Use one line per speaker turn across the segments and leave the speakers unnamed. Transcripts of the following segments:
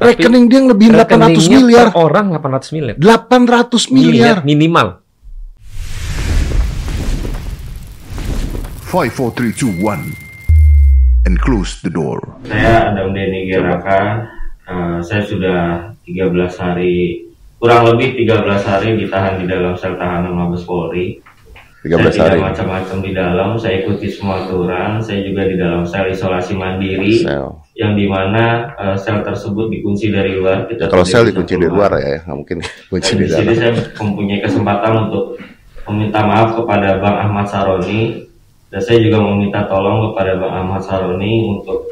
rekening dia ngelebihin 800
Rekeningnya
miliar.
per orang 800 miliar.
800 miliar.
minimal.
5, 4, 3, 2, 1. And close the door.
Saya Adam Denny Geraka. Eh, saya sudah 13 hari, kurang lebih 13 hari ditahan di dalam sel tahanan Mabes Polri.
13
saya
hari.
tidak macam-macam di dalam, saya ikuti semua aturan. Saya juga di dalam sel isolasi mandiri,
Sel.
yang dimana eh, sel tersebut dikunci dari luar.
Ya,
Kita
kalau
tidak
sel
bisa
dikunci di
keluar.
luar ya, nggak mungkin kunci
Dan
di
di sini
dalam.
saya mempunyai kesempatan untuk meminta maaf kepada Bang Ahmad Saroni dan saya juga meminta tolong kepada Bang Ahmad Saroni untuk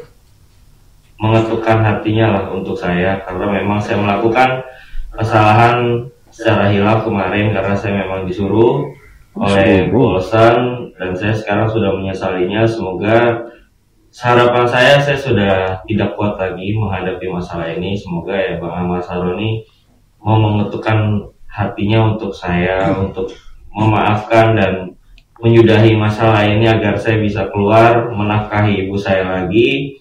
mengetukkan hatinya lah untuk saya karena memang saya melakukan kesalahan secara hilaf kemarin karena saya memang disuruh oleh
Disuruh.
Bosan dan saya sekarang sudah menyesalinya semoga harapan saya saya sudah tidak kuat lagi menghadapi masalah ini semoga ya Bang Ahmad Saroni mau mengetukkan hatinya untuk saya untuk memaafkan dan menyudahi masalah ini agar saya bisa keluar menafkahi ibu saya lagi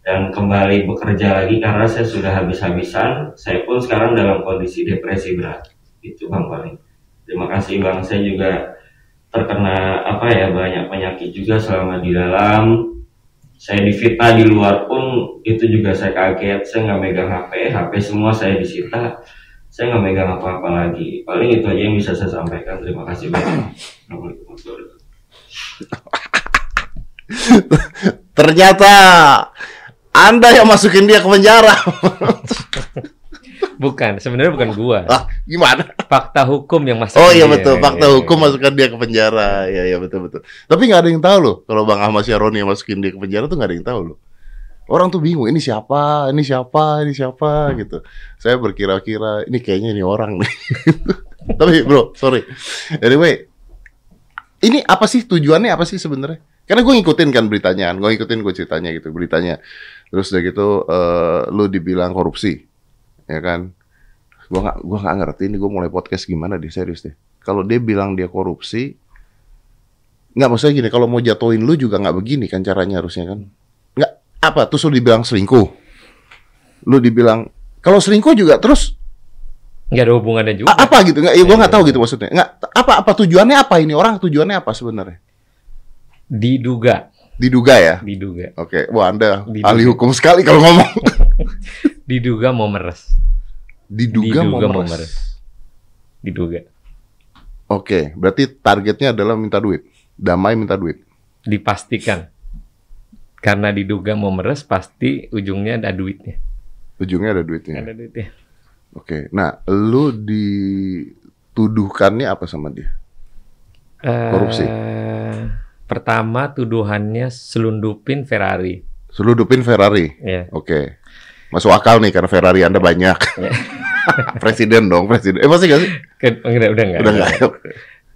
dan kembali bekerja lagi karena saya sudah habis-habisan saya pun sekarang dalam kondisi depresi berat itu bang paling terima kasih bang saya juga terkena apa ya banyak penyakit juga selama di dalam saya difitnah di luar pun itu juga saya kaget saya nggak megang HP HP semua saya disita saya nggak megang apa-apa lagi paling itu aja yang bisa saya sampaikan terima kasih banyak Assalamualaikum warahmatullahi wabarakatuh.
Ternyata Anda yang masukin dia ke penjara.
Bukan, sebenarnya bukan gua.
Lah, gimana?
Fakta hukum yang masuk.
Ah. Oh iya
dia.
betul, fakta
Iya.
hukum masukkan dia ke penjara. Iya iya betul betul. Tapi nggak ada yang tahu loh kalau Bang Ahmad Syaroni yang masukin dia ke penjara tuh nggak ada yang tahu loh. Orang tuh bingung ini siapa, ini siapa, ini siapa gitu. Saya berkira-kira ini kayaknya ini orang nih. Tapi bro, sorry. Anyway, ini apa sih tujuannya apa sih sebenarnya? Karena gue ngikutin kan beritanya, gue ngikutin gue ceritanya gitu beritanya. Terus udah gitu eh, lu dibilang korupsi, ya kan? Gue nggak gua nggak ngerti ini gue mulai podcast gimana deh serius deh. Kalau dia bilang dia korupsi, nggak maksudnya gini. Kalau mau jatuhin lu juga nggak begini kan caranya harusnya kan? Nggak apa? Terus lu dibilang selingkuh, lu dibilang kalau selingkuh juga terus
Nggak ada hubungannya juga. Iya.
A- apa gitu nggak ya gue nggak tahu gitu maksudnya nggak apa apa tujuannya apa ini orang tujuannya apa sebenarnya
Diduga,
diduga ya
diduga,
Oke, wah Anda
Diduga.
ahli hukum sekali kalau ngomong.
diduga mau meres,
Diduga,
Diduga
mau
mau
meres.
meres. diduga,
Oke, berarti targetnya adalah minta duit. Damai minta duit.
dipastikan. Karena diduga mau meres, pasti ujungnya ada duitnya.
Ujungnya ada duitnya.
Ada duitnya.
Oke, nah lu dituduhkannya apa sama dia?
Eh,
Korupsi.
pertama tuduhannya selundupin Ferrari.
Seludupin Ferrari.
Ya.
Oke. Masuk akal nih karena Ferrari Anda banyak. presiden dong, presiden. Eh masih gak sih?
Ke- Udah, udah nggak.
Udah nggak?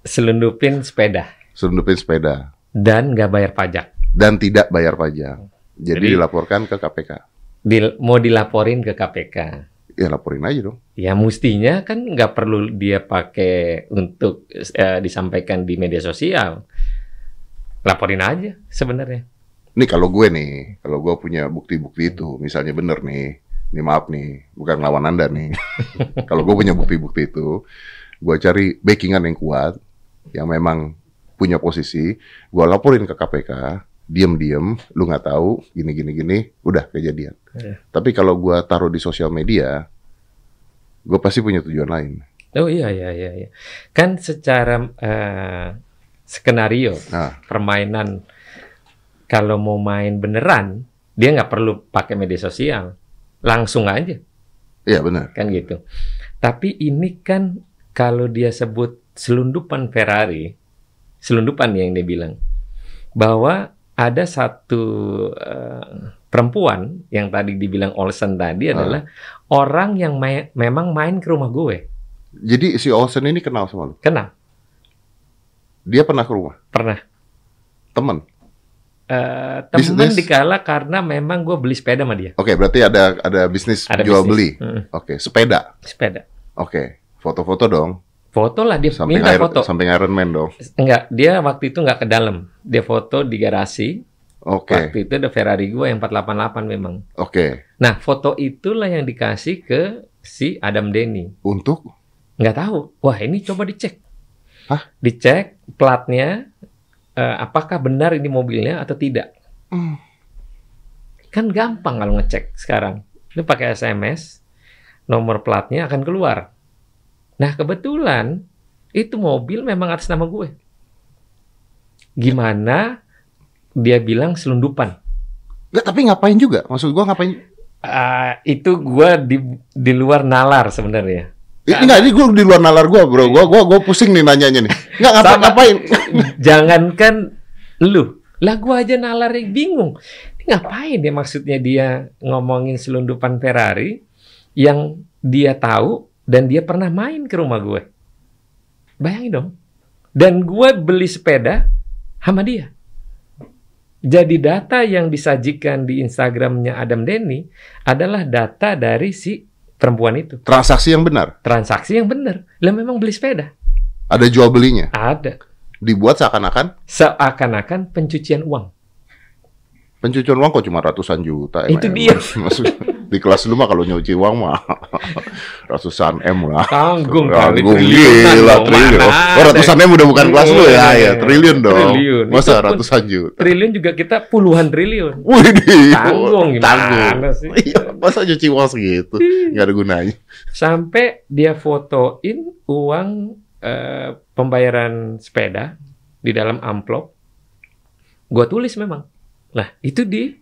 Selundupin sepeda
Seludupin sepeda
dan nggak bayar pajak.
dan tidak bayar pajak. Jadi,
Jadi-
dilaporkan ke KPK.
Dil- mau dilaporin ke KPK.
Ya laporin aja dong.
Ya mestinya kan nggak perlu dia pakai untuk eh, disampaikan di media sosial. Laporin aja sebenarnya.
Nih kalau gue nih, kalau gue punya bukti-bukti itu, misalnya bener nih, nih maaf nih, bukan lawan anda nih. kalau gue punya bukti-bukti itu, gue cari backingan yang kuat, yang memang punya posisi, gue laporin ke KPK, diem-diem, lu nggak tahu, gini-gini-gini, udah kejadian.
Iya.
Tapi kalau gue taruh di sosial media, gue pasti punya tujuan lain.
Oh iya iya iya. iya. Kan secara eh, skenario
Nah.
permainan kalau mau main beneran dia nggak perlu pakai media sosial, langsung aja
Iya bener.
kan gitu. Tapi ini kan kalau dia sebut selundupan Ferrari, selundupan yang dia bilang bahwa ada satu eh, perempuan yang tadi dibilang Olsen tadi
Ah.
adalah orang yang mai- memang main ke rumah gue.
Jadi si Olsen ini kenal sama lu.
Kenal?
Dia pernah ke rumah,
Pernah.
temen.
Eh,
Bisnis?
temen dikala karena memang gue beli sepeda sama dia.
Oke, berarti ada ada bisnis
Ada
jual beli.
bisnis. Mm,
Oke, sepeda.
sepeda.
Oke, foto-foto dong.
Foto lah dia
Samping
Iya, minta
Iron,
foto.
samping Iron Man dong.
Enggak, dia waktu itu nggak ke dalam. Dia foto di garasi
Oke,
Waktu itu ada Ferrari gue yang 488 memang.
oke.
Nah, foto itulah yang dikasih ke si Adam Denny.
Untuk
Nggak tahu. Wah, ini coba dicek.
Hah?
Dicek platnya, eh, apakah benar ini mobilnya atau tidak.
Hmm.
Kan gampang kalau ngecek sekarang. Lu pakai SMS, nomor platnya akan keluar. Nah, kebetulan itu mobil memang atas nama gue. Gimana dia bilang selundupan.
Nggak, tapi ngapain juga? Maksud gua ngapain?
Ah, itu gua di di luar nalar sebenarnya.
Ih, Enggak, ini gue di luar nalar gue bro, gue gua, gua pusing nih nanyanya nih Enggak, ngapa,
Sama.
ngapain?
Jangankan lu, lah gua aja nalarnya bingung. Ini ngapain dia maksudnya dia ngomongin selundupan Ferrari yang dia tahu dan dia pernah main ke rumah gue. Bayangin dong. Dan gua beli sepeda sama dia. Jadi data yang disajikan di Instagramnya Adam Denny adalah data dari si perempuan itu.
Transaksi yang benar,
transaksi yang benar. Lah memang beli sepeda.
ada jual belinya
Ada.
Dibuat seakan-akan
Seakan-akan pencucian uang.
pencucian uang kok cuma ratusan juta
Itu
emang.
dia.
Maksudnya, di kelas lu mah kalau nyuci uang mah ratusan M lah
Tanggung kali
Agung,
triliunan
gila,
dong.
triliun.
Mana
Oh,
ada.
ratusannya udah bukan kelas lu ya,
Triliun.
ya triliun dong.
Triliun. Itu
Masa
pun-
ratusan juta?
Triliun juga kita puluhan triliun.
Wih, di-
Tanggung gimana Hmm.
Iya. Tanggung.
sih?
Iya, masa cuci uang segitu? Nggak ada gunanya.
Sampai dia fotoin uang eh, pembayaran sepeda di dalam amplop. Gua tulis memang. Nah, itu di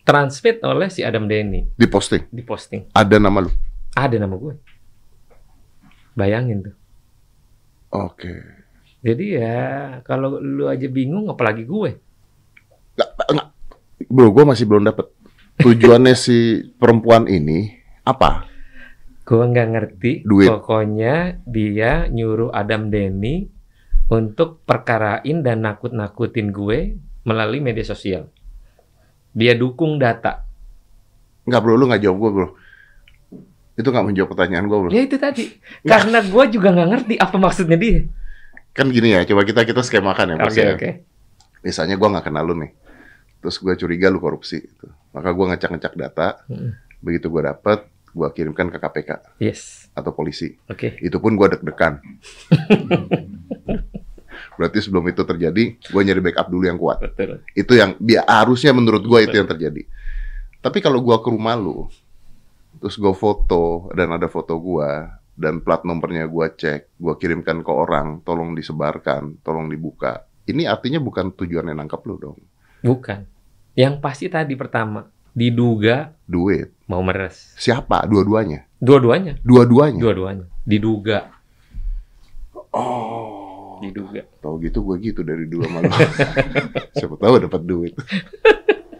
transmit oleh si Adam Denny
Di posting,
di posting.
ada nama lu.
Ada nama gue. Bayangin tuh.
Oke.
Jadi ya kalau lu aja bingung apalagi gue.
Nggak, nggak. Bro, gue masih belum dapet. Tujuannya si perempuan ini apa?
Gue nggak ngerti.
Duit.
Pokoknya dia nyuruh Adam Denny untuk perkarain dan nakut-nakutin gue melalui media sosial. Dia dukung data.
Nggak bro, lu nggak jawab gue bro. Itu nggak menjawab pertanyaan gue bro.
Ya itu tadi. Karena gue juga nggak ngerti apa maksudnya dia.
Kan gini ya, coba kita kita skemakan ya.
Oke
Mas ya.
oke.
misalnya gua nggak kenal lu nih terus gua curiga lu korupsi gitu. maka gua ngecek-ngecek data
Mm.
begitu gua dapet gua kirimkan ke KPK
Yes.
atau polisi
Oke.
itu pun gua deg-degan berarti sebelum itu terjadi gua nyari backup dulu yang kuat
Betul.
itu yang dia harusnya menurut gua itu yang terjadi tapi kalau gua ke rumah lu terus gua foto dan ada foto gua dan plat nomornya gua cek gua kirimkan ke orang tolong disebarkan tolong dibuka ini artinya bukan tujuannya nangkep lu dong
Bukan. Yang pasti tadi pertama diduga
duit
mau meres.
siapa dua-duanya
Dua-duanya.
dua-duanya
Dua-duanya. Diduga. Oh. Diduga.
tau gitu gue gitu dari dulu malu siapa tahu dapat duit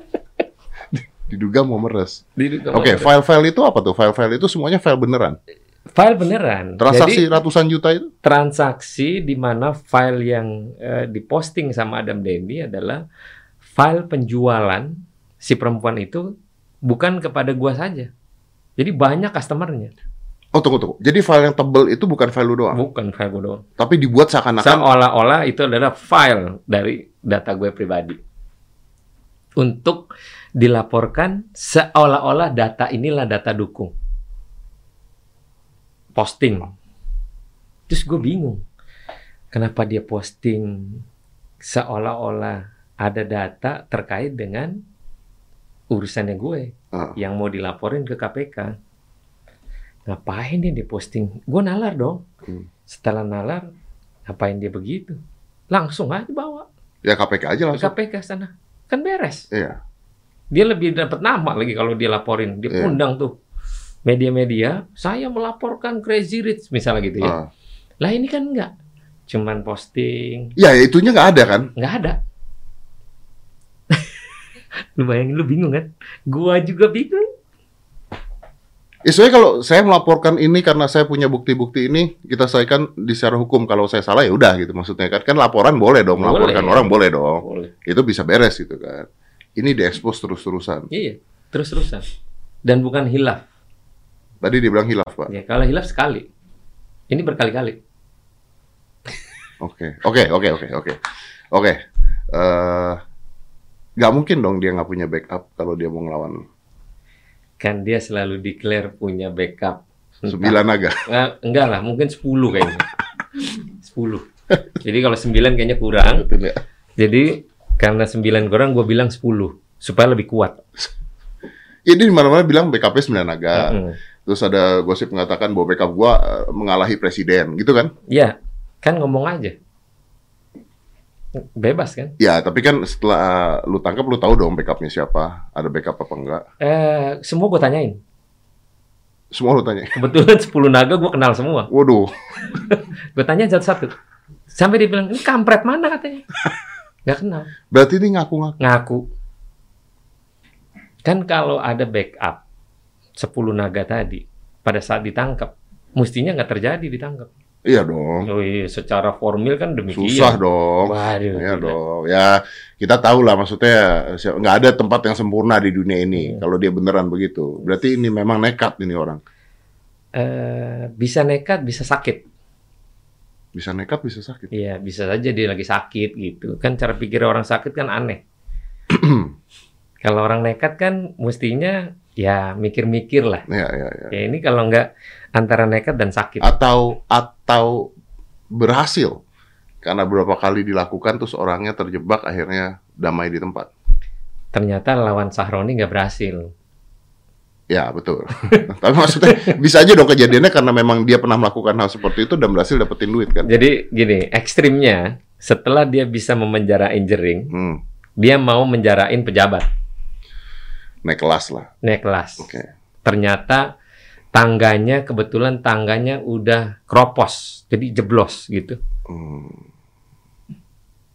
diduga mau meres
Diduga.
oke file-file itu apa tuh file-file itu semuanya file beneran
File beneran.
transaksi
Jadi
ratusan juta itu
transaksi di mana file yang eh, diposting sama Adam Denny adalah file penjualan si perempuan itu bukan kepada gua saja. Jadi banyak customernya,
oh tunggu tunggu jadi file yang tebel itu bukan file lu doang
bukan file gua doang.
tapi dibuat seakan-akan
Seolah-olah itu adalah file dari data gue pribadi untuk dilaporkan seolah-olah data inilah data dukung posting terus gue bingung kenapa dia posting seolah-olah ada data terkait dengan urusannya gue
Ah.
yang mau dilaporin ke KPK ngapain dia di posting gue nalar dong
Hmm.
setelah nalar ngapain dia begitu langsung aja bawa
ya KPK aja
ke
langsung
KPK sana kan beres
iya
dia lebih dapat nama lagi kalau dia laporin dia
Iya.
undang tuh media-media saya melaporkan crazy rich misalnya gitu ya
Ah.
lah ini kan enggak cuman posting
ya itunya nggak ada kan
nggak ada lu bayangin lu bingung kan gua juga bingung
Istilahnya Ya, kalau saya melaporkan ini karena saya punya bukti-bukti ini, kita selesaikan di secara hukum. Kalau saya salah ya udah gitu maksudnya kan. Kan laporan boleh dong,
Boleh.
melaporkan orang Oh, boleh dong.
boleh
Itu bisa beres gitu kan. Ini diekspos terus-terusan.
iya terus terusan dan bukan hilaf
Tadi dia bilang hilaf, Pak.
ya kalau hilaf sekali ini berkali-kali
Oke. Oke, oke, oke, oke. Oke. Eh Gak mungkin dong dia nggak punya backup kalau dia mau ngelawan
Kan dia selalu declare punya backup. Entah-
sembilan naga.
Eh, enggak lah, mungkin 10 kayaknya. 10. Jadi kalau 9 kayaknya kurang.
Betul ya?
Jadi karena 9 kurang gue bilang 10 supaya lebih kuat.
Ya, dia di mana-mana bilang backupnya sembilan naga.
Mm.
Terus ada gosip mengatakan bahwa backup gua eh, mengalahi presiden, gitu kan?
Ya, kan ngomong aja. Bebas kan?
Ya, tapi kan setelah eh, lu tangkap lu tahu dong backupnya siapa, ada backup apa enggak?
Eh, semua gue tanyain.
Semua lu tanya.
Kebetulan 10 naga gue kenal semua.
Waduh,
Gue tanya satu-satu. Sampai dia bilang, ini kampret mana katanya? Gak kenal.
berarti ini ngaku-ngaku.
Ngaku. Kan kalau ada backup 10 naga tadi, pada saat ditangkap, mestinya nggak terjadi ditangkap.
Iya dong.
Oh iya, secara formil kan demikian.
Susah dong.
Waduh.
Ya
gila.
dong, ya kita tahu lah maksudnya si- nggak ada tempat yang sempurna di dunia ini.
Iya.
Kalau dia beneran begitu, berarti ini memang nekat ini orang.
Eh, bisa nekat, bisa sakit.
Bisa nekat, bisa sakit.
Iya, bisa saja dia lagi sakit gitu. Kan cara pikir orang sakit kan aneh. kalau orang nekat kan mestinya ya mikir-mikir lah.
Ya, ya, ya.
Ya ini kalau nggak antara nekat dan sakit.
Atau atau berhasil karena berapa kali dilakukan terus orangnya terjebak akhirnya damai di tempat.
Ternyata lawan Sahroni nggak berhasil.
Ya betul. Tapi maksudnya bisa aja dong kejadiannya karena memang dia pernah melakukan hal seperti itu dan berhasil dapetin duit kan.
Jadi gini, ekstrimnya setelah dia bisa memenjarain jering,
Hmm,
dia mau menjarain pejabat
naik kelas lah.
naik kelas.
Oke.
Ternyata tangganya kebetulan tangganya udah kropos, jadi jeblos gitu.
Hmm,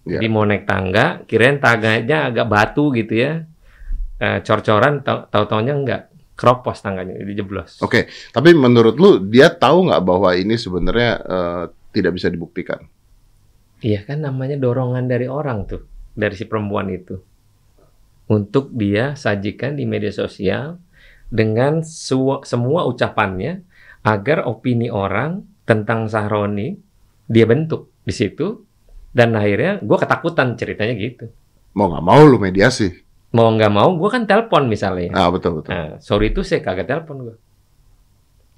Ya.
Jadi mau naik tangga, kirain tangganya agak batu gitu ya. Eh, cor-coran tahu taunya enggak kropos tangganya jadi jeblos.
Oke. Tapi menurut lu dia tahu nggak bahwa ini sebenarnya eh, tidak bisa dibuktikan?
Iya kan namanya dorongan dari orang tuh, dari si perempuan itu. Untuk dia sajikan di media sosial dengan su- semua ucapannya agar opini orang tentang Sahroni dia bentuk di situ dan akhirnya gue ketakutan ceritanya gitu.
Mau nggak mau lu mediasi.
Mau nggak mau gue kan telepon misalnya.
Ah betul betul.
Nah, sorry itu saya kagak telepon gue.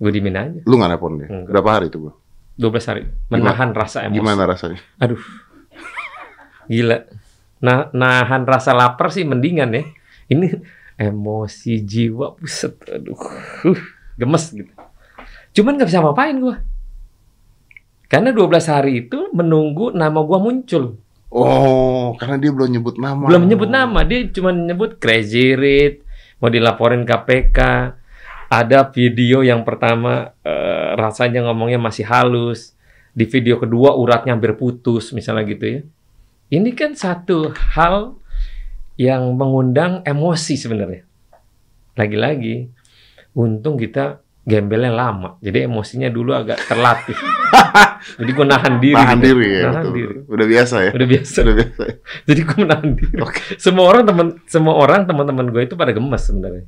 Gue dimin aja.
Lu nggak nelpon dia?
Enggak.
Berapa hari itu bro?
12 hari. Menahan rasa emosi.
Gimana rasanya?
Aduh. Gila. Nah, nahan rasa lapar sih mendingan ya. Ini emosi jiwa buset. Aduh. Huh, gemes gitu. Cuman nggak bisa ngapain gue. Karena 12 hari itu menunggu nama gue muncul.
Oh, karena dia belum nyebut nama.
Belum menyebut nama, dia cuma menyebut crazy rich, mau dilaporin KPK. Ada video yang pertama eh, rasanya ngomongnya masih halus. Di video kedua uratnya hampir putus, misalnya gitu ya. Ini kan satu hal yang mengundang emosi sebenarnya. Lagi-lagi, untung kita gembelnya lama. Jadi emosinya dulu agak terlatih. Jadi gue nahan diri.
Nahan
gitu.
diri ya.
Nahan
betul,
diri.
betul. Udah biasa ya.
Udah biasa.
Udah biasa. ya.
Jadi gue menahan diri. Semua orang teman semua orang teman-teman gue itu pada gemes sebenarnya.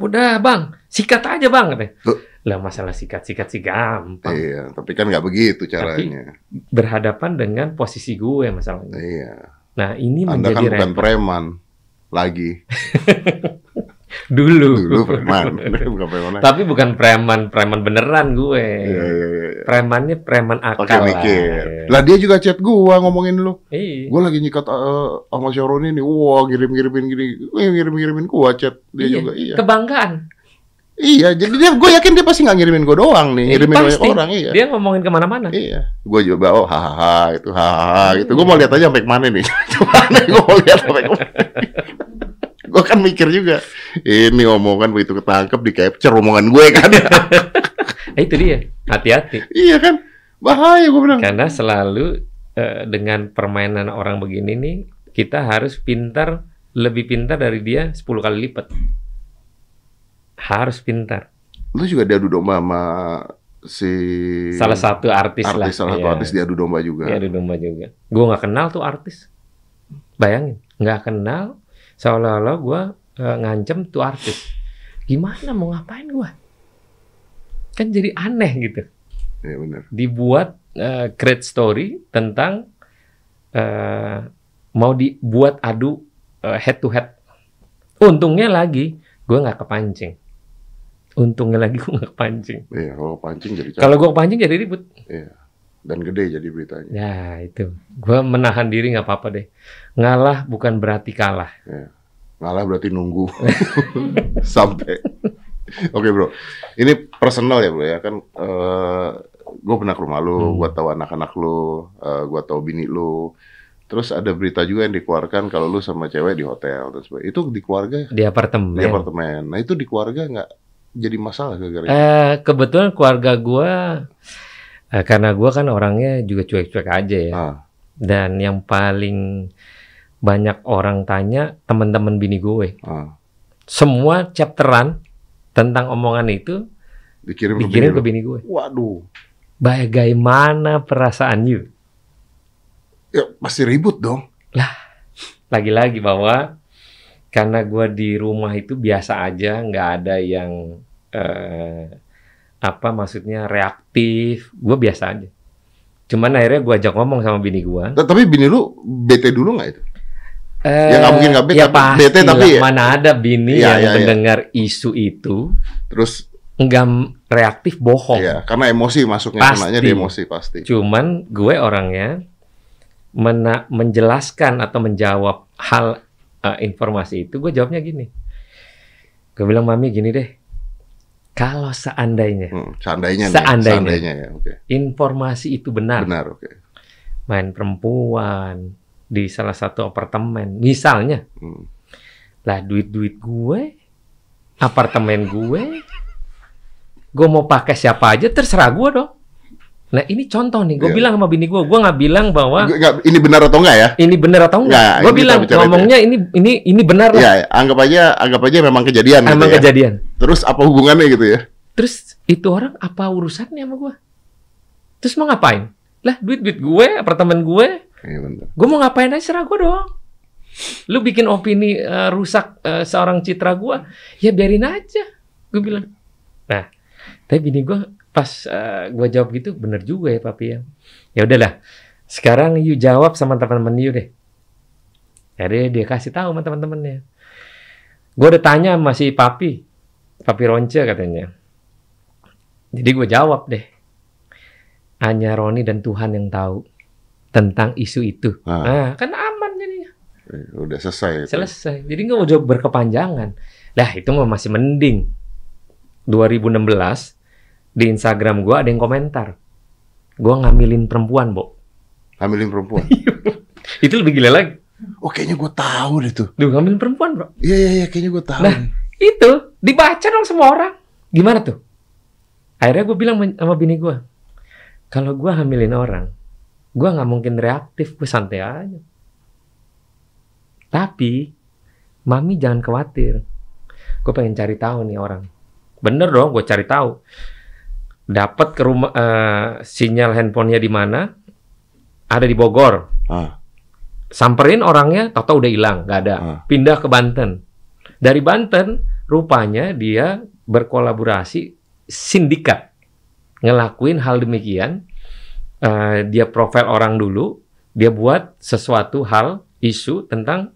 Udah bang, sikat aja bang katanya.
Loh.
Lah masalah sikat sikat sih gampang.
Iya, tapi kan nggak begitu caranya.
Berhadapan dengan posisi gue masalahnya.
Iya.
Nah ini
Anda kan
menjadi
bukan
repot.
preman lagi.
dulu.
Dulu preman. bukan preman. lagi.
Tapi bukan preman preman beneran gue.
Iya, iya, iya. iya.
Premannya preman akal
Pakai mikir.
lah.
Lah dia juga chat gua ngomongin lu.
Iya.
Gue lagi nyikat eh, sama Syahroni nih, wah ngirim-ngirimin gini, Eh, ngirim-ngirimin gua chat dia
Iya.
juga, iya.
Kebanggaan.
Iya, jadi dia, gue yakin dia pasti nggak ngirimin gue doang nih,
Iya,
ngirimin
pasti.
banyak orang, iya.
Dia ngomongin kemana-mana.
Iya, gue juga oh hahaha itu hahaha gitu. Gue mau lihat aja sampai mana nih, mana gue mau lihat sampai Gue kan mikir juga, ini omongan begitu ketangkep di capture omongan gue kan,
Eh, itu dia. Hati-hati.
iya kan, bahaya gue bilang.
Karena selalu eh, dengan permainan orang begini nih, kita harus pintar, lebih pintar dari dia 10 kali lipat. Harus pintar.
Lu juga diadu domba sama si
Salah satu artis, lah.
Hmm. artis salah satu
Iya.
artis diadu domba juga.
Iya, ada domba juga. Gue nggak kenal tuh artis. Bayangin, nggak kenal, seolah-olah gue ngancem tuh artis. Gimana mau ngapain gue? Kan jadi aneh gitu.
Iya benar.
dibuat eh, great story tentang eh, mau dibuat adu eh, head to head. Untungnya lagi gue nggak kepancing. Untungnya lagi gue nggak kepancing.
Iya, kalau pancing jadi cakep
Kalau gue kepancing jadi ribut.
dan gede jadi beritanya.
Ya itu. Gue menahan diri nggak apa-apa deh. Ngalah bukan berarti kalah.
Ngalah berarti nunggu sampai. Oke bro, ini personal ya bro ya kan. gue pernah ke rumah lu,
Hmm.
gua tahu anak-anak lu, eh, gua tahu bini lu. Terus ada berita juga yang dikeluarkan kalau lu sama cewek di hotel dan sebagainya. Itu di keluarga
Di apartemen.
di apartemen. Nah itu di keluarga nggak jadi masalah gara-gara
Eh, kebetulan keluarga gue, eh, karena gue kan orangnya juga cuek-cuek aja ya.
Ah.
Dan yang paling banyak orang tanya teman-teman bini gue.
Ah.
Semua chapteran tentang omongan itu
dikirim ke
dikirim
bini
ke
lu.
bini gue.
Waduh,
Bagaimana perasaan you?
ya pasti ribut dong.
Lagi-lagi bahwa karena gue di rumah itu biasa aja, nggak ada yang eh, apa maksudnya reaktif. Gue biasa aja. Cuman akhirnya gue ajak ngomong sama bini gue.
T- Tapi bini lu bete dulu nggak itu?
Eh,
Ya, nggak mungkin nggak bete,
ya
tapi- bete,
pastilah.
tapi ya-
mana ada bini
Iya,
yang
iya, iya.
mendengar isu itu
Terus
nggak m- reaktif bohong.
ya karena emosi masuknya
Pasti.
kenanya di emosi pasti.
Cuman gue orangnya mena- menjelaskan atau menjawab hal eh, informasi itu gue jawabnya gini. Gue bilang mami gini deh. Kalau seandainya
Hmm, seandainya, nih,
Seandainya. Nah.
seandainya ya, oke.
informasi itu benar,
Benar, oke.
main perempuan di salah satu apartemen, misalnya
Hmm.
lah duit-duit gue, apartemen gue, gue mau pakai siapa aja terserah gue dong. Nah ini contoh nih, gue
Iya.
bilang sama bini gue, gue nggak bilang bahwa
Nggak- nggak, ini benar atau enggak ya?
ini benar atau
Nggak,
enggak. Gue
ini kita
bilang
bicara itu
ngomongnya ini ini ini benar lah,
Ya, anggap aja anggap aja memang kejadian
emang
gitu ya.
kejadian.
Terus apa hubungannya gitu ya?
Terus itu orang apa urusannya sama gue? Terus mau ngapain? Lah duit-duit gue, apartemen gue,
Iya benar.
gue mau ngapain aja serah gue dong. Lu bikin opini eh, rusak eh, seorang citra gue, ya biarin aja. Gue bilang. Nah, tapi bini gue pas gue jawab gitu bener juga ya papi ya. Ya udahlah. Sekarang you jawab sama teman-teman you deh. Jadi dia kasih tahu sama teman-temannya. Gue udah tanya sama si papi, papi ronce katanya. Jadi gue jawab deh. Hanya Roni dan Tuhan yang tahu tentang isu itu. Nah,
Ah.
kan aman jadinya.
Eh, Udah selesai. itu.
Selesai. Jadi nggak udah berkepanjangan. Lah, itu mah masih mending. 2016 di Instagram gua ada yang komentar. Gua ngambilin perempuan, Bo.
Hamilin perempuan.
Itu lebih gila lagi.
oh, kayaknya gue tahu deh tuh.
Duh, ngambilin perempuan, Bro.
Iya, iya, iya, kayaknya gue tahu.
Nah. Itu dibaca dong semua orang. Gimana tuh? Akhirnya gue bilang men- sama bini gua, kalau gua hamilin orang, gua nggak mungkin reaktif, gue santai aja. Tapi, mami jangan khawatir. Gue pengen cari tahu nih orang. Bener dong, gue cari tahu. Dapat ke rumah eh, sinyal handphonenya di mana? Ada di Bogor.
Ah.
Samperin orangnya, tau udah hilang, nggak ada.
Ah.
Pindah ke Banten. Dari Banten, rupanya dia berkolaborasi sindikat, ngelakuin hal demikian. Eh, dia profil orang dulu, dia buat sesuatu hal isu tentang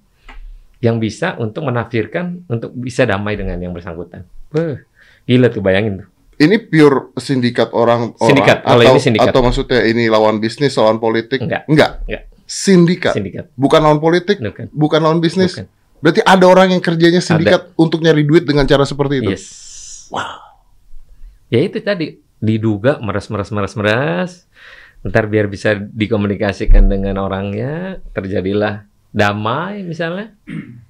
yang bisa untuk menafsirkan untuk bisa damai dengan yang bersangkutan. Wah, gila tuh bayangin tuh.
Ini pure sindikat orang orang
Sindikat,
atau
kalau ini sindikat.
atau maksudnya ini lawan bisnis, lawan politik?
Enggak. Enggak.
Sindikat.
Sindikat.
Bukan lawan politik,
Bener kan?
bukan lawan bisnis.
Bukan.
Berarti ada orang yang kerjanya sindikat untuk nyari duit dengan cara seperti itu.
Yes. Wow. Ya itu tadi diduga meres meres meres meres. Ntar biar bisa dikomunikasikan dengan orangnya terjadilah damai misalnya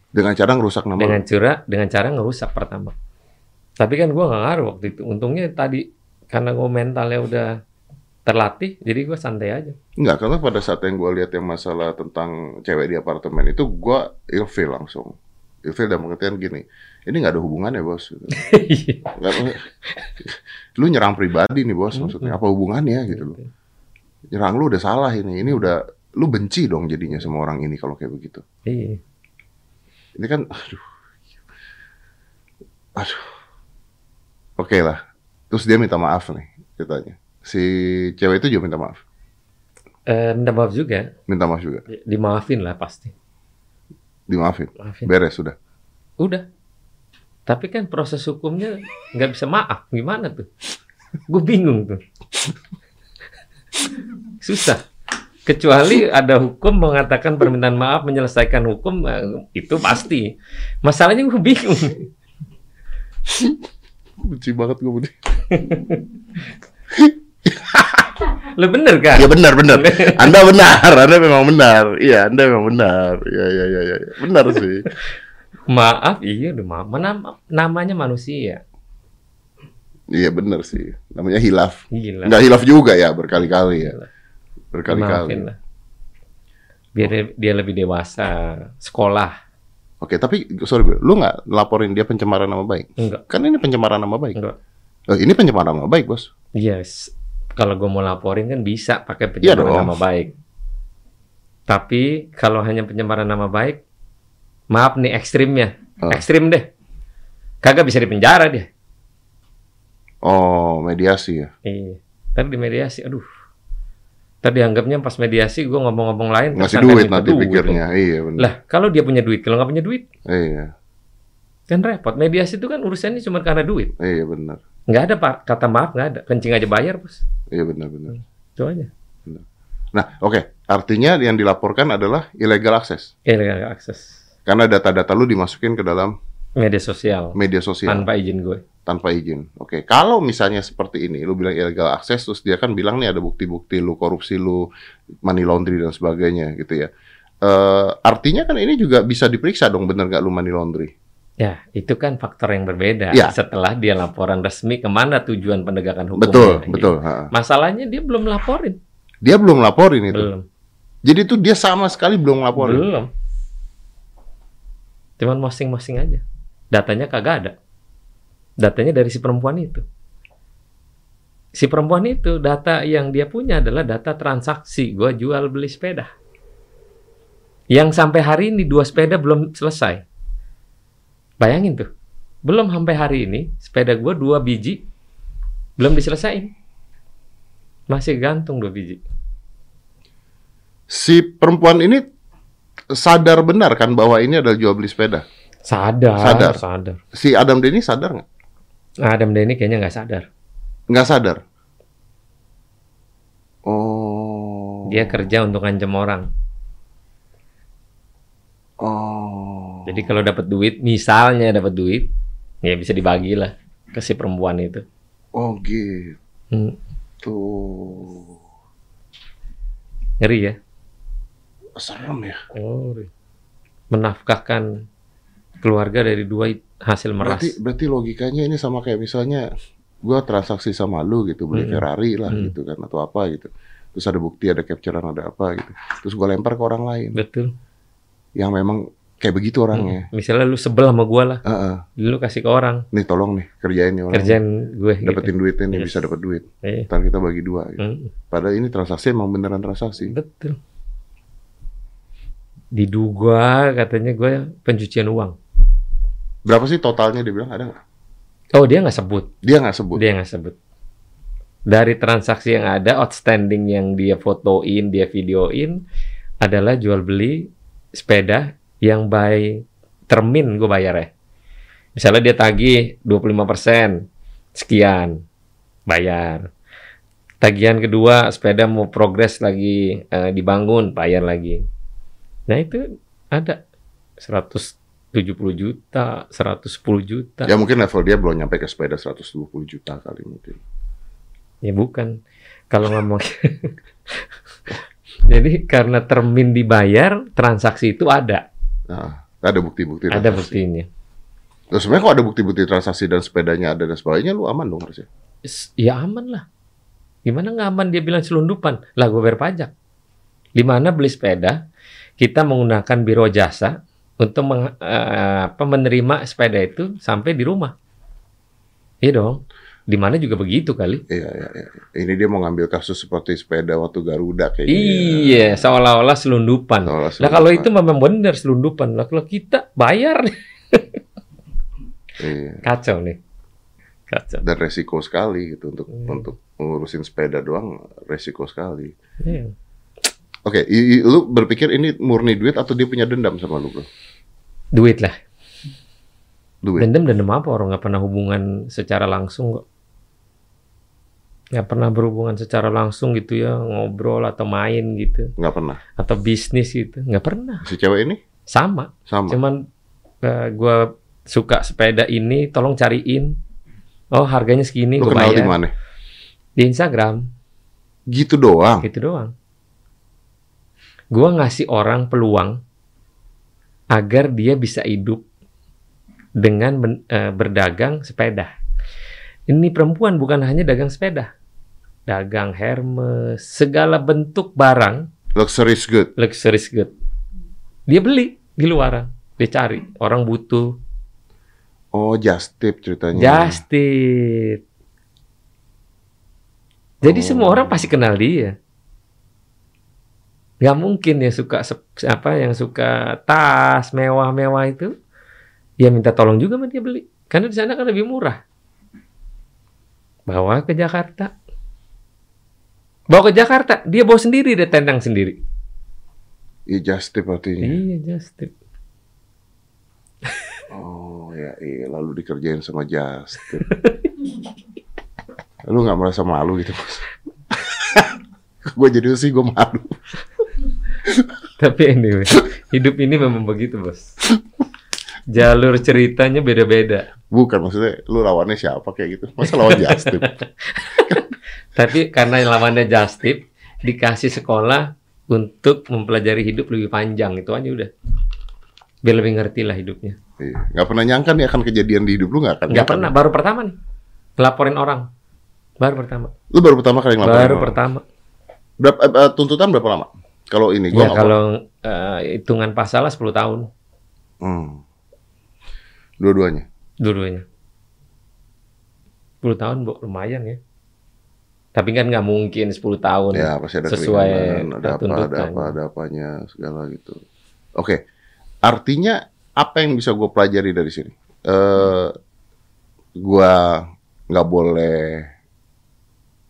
Dengan cara ngerusak nama.
dengan curah dengan cara ngerusak pertama. Tapi kan gua nggak ngaruh waktu itu. Untungnya tadi karena gue mentalnya udah terlatih, jadi gua santai aja.
Enggak, karena pada saat yang gue lihat yang masalah tentang cewek di apartemen itu gue ilfil langsung. Ilfil dalam pengertian gini, ini nggak ada hubungannya bos. Gitu. Nggak- lu nyerang pribadi nih bos maksudnya, apa hubungannya gitu loh. Nyerang lu udah salah ini, ini udah, lu benci dong jadinya sama orang ini kalau kayak begitu.
Iya.
Ini kan, aduh. Aduh. Oke lah. Terus dia minta maaf nih, ceritanya. Si cewek itu juga minta maaf.
eh, minta maaf juga,
Minta maaf juga.
Di- dimaafin lah pasti.
Dimaafin.
Maafin.
Beres sudah.
Udah. Tapi kan proses hukumnya nggak bisa maaf. Gimana tuh? Gue bingung tuh. Susah. Kecuali ada hukum mengatakan permintaan maaf menyelesaikan hukum eh, itu pasti. Masalahnya gue bingung.
Benci banget gue Budi.
Lo bener kan?
Ya benar benar. Anda benar. Anda memang benar. Iya, Anda memang benar. Iya iya iya iya. Benar sih.
Maaf, iya udah maaf. Mana- namanya manusia.
Iya benar sih. Namanya hilaf.
Gila.
Nggak hilaf juga ya berkali-kali ya. Berkali-kali.
Maafin lah. Biar dia, dia lebih dewasa. Sekolah.
Oke, tapi sorry bro, lu nggak laporin dia pencemaran nama baik?
Enggak.
Kan ini pencemaran nama baik.
Enggak.
Eh, ini pencemaran nama baik, bos.
Yes. Kalau gue mau laporin kan bisa pakai
Iya
pencemaran
dong.
nama baik. Tapi kalau hanya pencemaran nama baik, maaf nih ekstrimnya.
Ah.
Ekstrim deh. Kagak bisa dipenjara dia.
Oh, mediasi ya.
Iya. Ntar di mediasi, aduh. Ntar dianggapnya pas mediasi gue ngomong-ngomong lain.
Ngasih
tersangka
duit
minta
nanti
duit.
pikirnya. Iya, benar.
Lah, kalau dia punya duit, kalau nggak punya duit,
Iya,
kan repot. Mediasi itu kan urusannya cuma karena duit.
iya benar.
Nggak ada pak kata maaf nggak ada. Kencing aja bayar bos.
Iya benar benar.
Itu aja.
Nah, oke. Artinya yang dilaporkan adalah illegal access.
Ya, nggak ada akses
Karena data-data lu dimasukin ke dalam
media sosial
media sosial
tanpa izin gue.
tanpa izin. Oke, kalau misalnya seperti ini, lu bilang illegal access, terus dia kan bilang nih ada bukti-bukti lu korupsi lu, money laundry dan sebagainya gitu ya. Eh, artinya kan ini juga bisa diperiksa dong bener gak lu money laundry?
Ya, itu kan faktor yang berbeda.
Ya.
Setelah dia laporan resmi kemana tujuan penegakan hukum.
Betul, betul. ha.
Masalahnya dia belum laporin.
Dia belum laporin itu.
Belum.
Jadi itu dia sama sekali belum laporin.
Belum. Cuman mosing-mosing aja. Datanya kagak ada. Datanya dari si perempuan itu. Si perempuan itu data yang dia punya adalah data transaksi gua jual beli sepeda. Yang sampai hari ini dua sepeda belum selesai. Bayangin tuh. Belum sampai hari ini sepeda gua dua biji belum diselesain. Masih gantung dua biji.
Si perempuan ini sadar benar kan bahwa ini adalah jual beli sepeda.
Sadar,
Sadar.
sadar. Nah,
Si Adam Denny sadar nggak?
Adam Denny kayaknya nggak sadar.
Nggak sadar. Oh.
Dia kerja untuk ngancem orang.
Oh.
Jadi kalau dapat duit, misalnya dapat duit, ya bisa dibagilah ke si perempuan itu.
Oh gitu.
Hmm, ngeri ya.
Serem ya.
Ngeri. Menafkahkan keluarga dari dua it- hasil meras.
Berarti berarti logikanya ini sama kayak misalnya gua transaksi sama lu gitu beli
Mm.
Ferrari lah
Mm.
gitu kan atau apa gitu. Terus ada bukti, ada capturean, ada apa gitu. Terus gua lempar ke orang lain
Betul.
yang memang kayak begitu orangnya.
Hmm. Misalnya lu sebel sama gua lah,
Heeh.
lu kasih ke orang,
Nih tolong nih kerjain nih orang.
kerjaan gue. gitu.
Dapetin duitnya nih
Yes.
bisa dapat duit.
Iya.
Ntar kita bagi dua. Gitu.
Hmm,
Padahal ini transaksi emang beneran transaksi.
Betul. Diduga katanya gue pencucian uang.
Berapa sih totalnya dia bilang ada nggak?
Oh dia nggak sebut.
Dia nggak sebut.
Dia nggak sebut. Dari transaksi yang ada, outstanding yang dia fotoin, dia videoin, adalah jual beli sepeda yang by termin gue bayar ya. Misalnya dia tagih 25%, sekian, bayar. Tagihan kedua, sepeda mau progres lagi eh, dibangun, bayar lagi. Nah itu ada 170 juta, 110 juta.
Ya mungkin level dia belum nyampe ke sepeda 120 juta kali mungkin.
Ya bukan. Kalau ngomong Jadi karena termin dibayar, transaksi itu ada,
Nah, ada bukti-bukti.
ada
transaksi.
buktinya.
Terus sebenarnya kalau ada bukti-bukti transaksi dan sepedanya ada dan sebagainya, lu aman dong harusnya.
S- Ya aman lah. Gimana nggak aman dia bilang selundupan? Lah gue bayar pajak. Di mana beli sepeda, kita menggunakan biro jasa untuk meng- eh, apa, menerima sepeda itu sampai di rumah. Iya dong. Di mana juga begitu kali.
Iya, iya, iya. Ini dia mau ngambil kasus seperti sepeda waktu Garuda kayaknya.
Iya, seolah-olah selundupan.
Seolah-olah
Lah kalau itu
selundupan.
memang benar selundupan. Lah kalau kita bayar
Iya.
kacau nih. Kacau.
Dan resiko sekali gitu untuk
Iya.
untuk ngurusin sepeda doang resiko sekali.
Iya.
Oke, i- i- lu berpikir ini murni duit atau dia punya dendam sama lu, bro?
Duit lah.
Duit.
Dendam dendam apa orang nggak pernah hubungan secara langsung kok. Nggak pernah berhubungan secara langsung gitu ya ngobrol atau main gitu
Nggak pernah.
atau bisnis gitu nggak pernah.
Si cewek ini
Sama.
sama.
Cuman eh, gua suka sepeda ini, tolong cariin. Oh harganya segini,
Lu
gue
kenal di
bayar.
mana?
Di Instagram,
Gitu doang.
gitu doang. Gua ngasih orang peluang agar dia bisa hidup dengan ben- eh, berdagang sepeda. Ini perempuan bukan hanya dagang sepeda, dagang Hermes, segala bentuk barang
Luxury's good.
luxurious good. Dia beli di luaran, dia cari orang butuh,
Oh, just tip ceritanya.
Just tip. Jadi
Oh.
semua orang pasti kenal dia. Gak mungkin ya suka sep- apa yang suka tas mewah-mewah itu, ya minta tolong juga sama dia beli. Karena di sana kan lebih murah. Bawa ke Jakarta. Bawa ke Jakarta, dia bawa sendiri, dia tendang sendiri.
Iya, just tip artinya.
Iya, just tip.
Oh, ya iya. Lalu dikerjain sama just tip. lu nggak merasa malu gitu, Bos? gue jadi sih gue malu.
Tapi anyway, hidup ini memang begitu, Bos. Jalur ceritanya beda-beda.
Bukan maksudnya lu lawannya siapa kayak gitu. Masa lawan just tip?
Tapi karena yang lawannya Justip dikasih sekolah untuk mempelajari hidup lebih panjang itu aja udah. Biar lebih ngerti lah hidupnya.
Iya. Nggak pernah nyangka nih akan kejadian di hidup lu nggak akan.
Nggak
nyangka. kan?
pernah, baru pertama nih. Ngelaporin orang. Baru pertama.
Lu baru pertama kali ngelaporin.
baru
orang.
pertama.
Berapa, eh, eh, tuntutan berapa lama? Kalau ini gua
Ya
nggak
kalau eh, hitungan pasalnya 10 tahun
Hmm. Dua-duanya.
dulunya. 10 tahun Bo, lumayan ya. Tapi kan nggak mungkin 10 tahun.
Ya pasti ada
Sesuai
keringanan, ada apa, ada
tuntutan.
apa, ada apanya segala gitu. Oke, artinya apa yang bisa gue pelajari dari sini? Eh, gue nggak boleh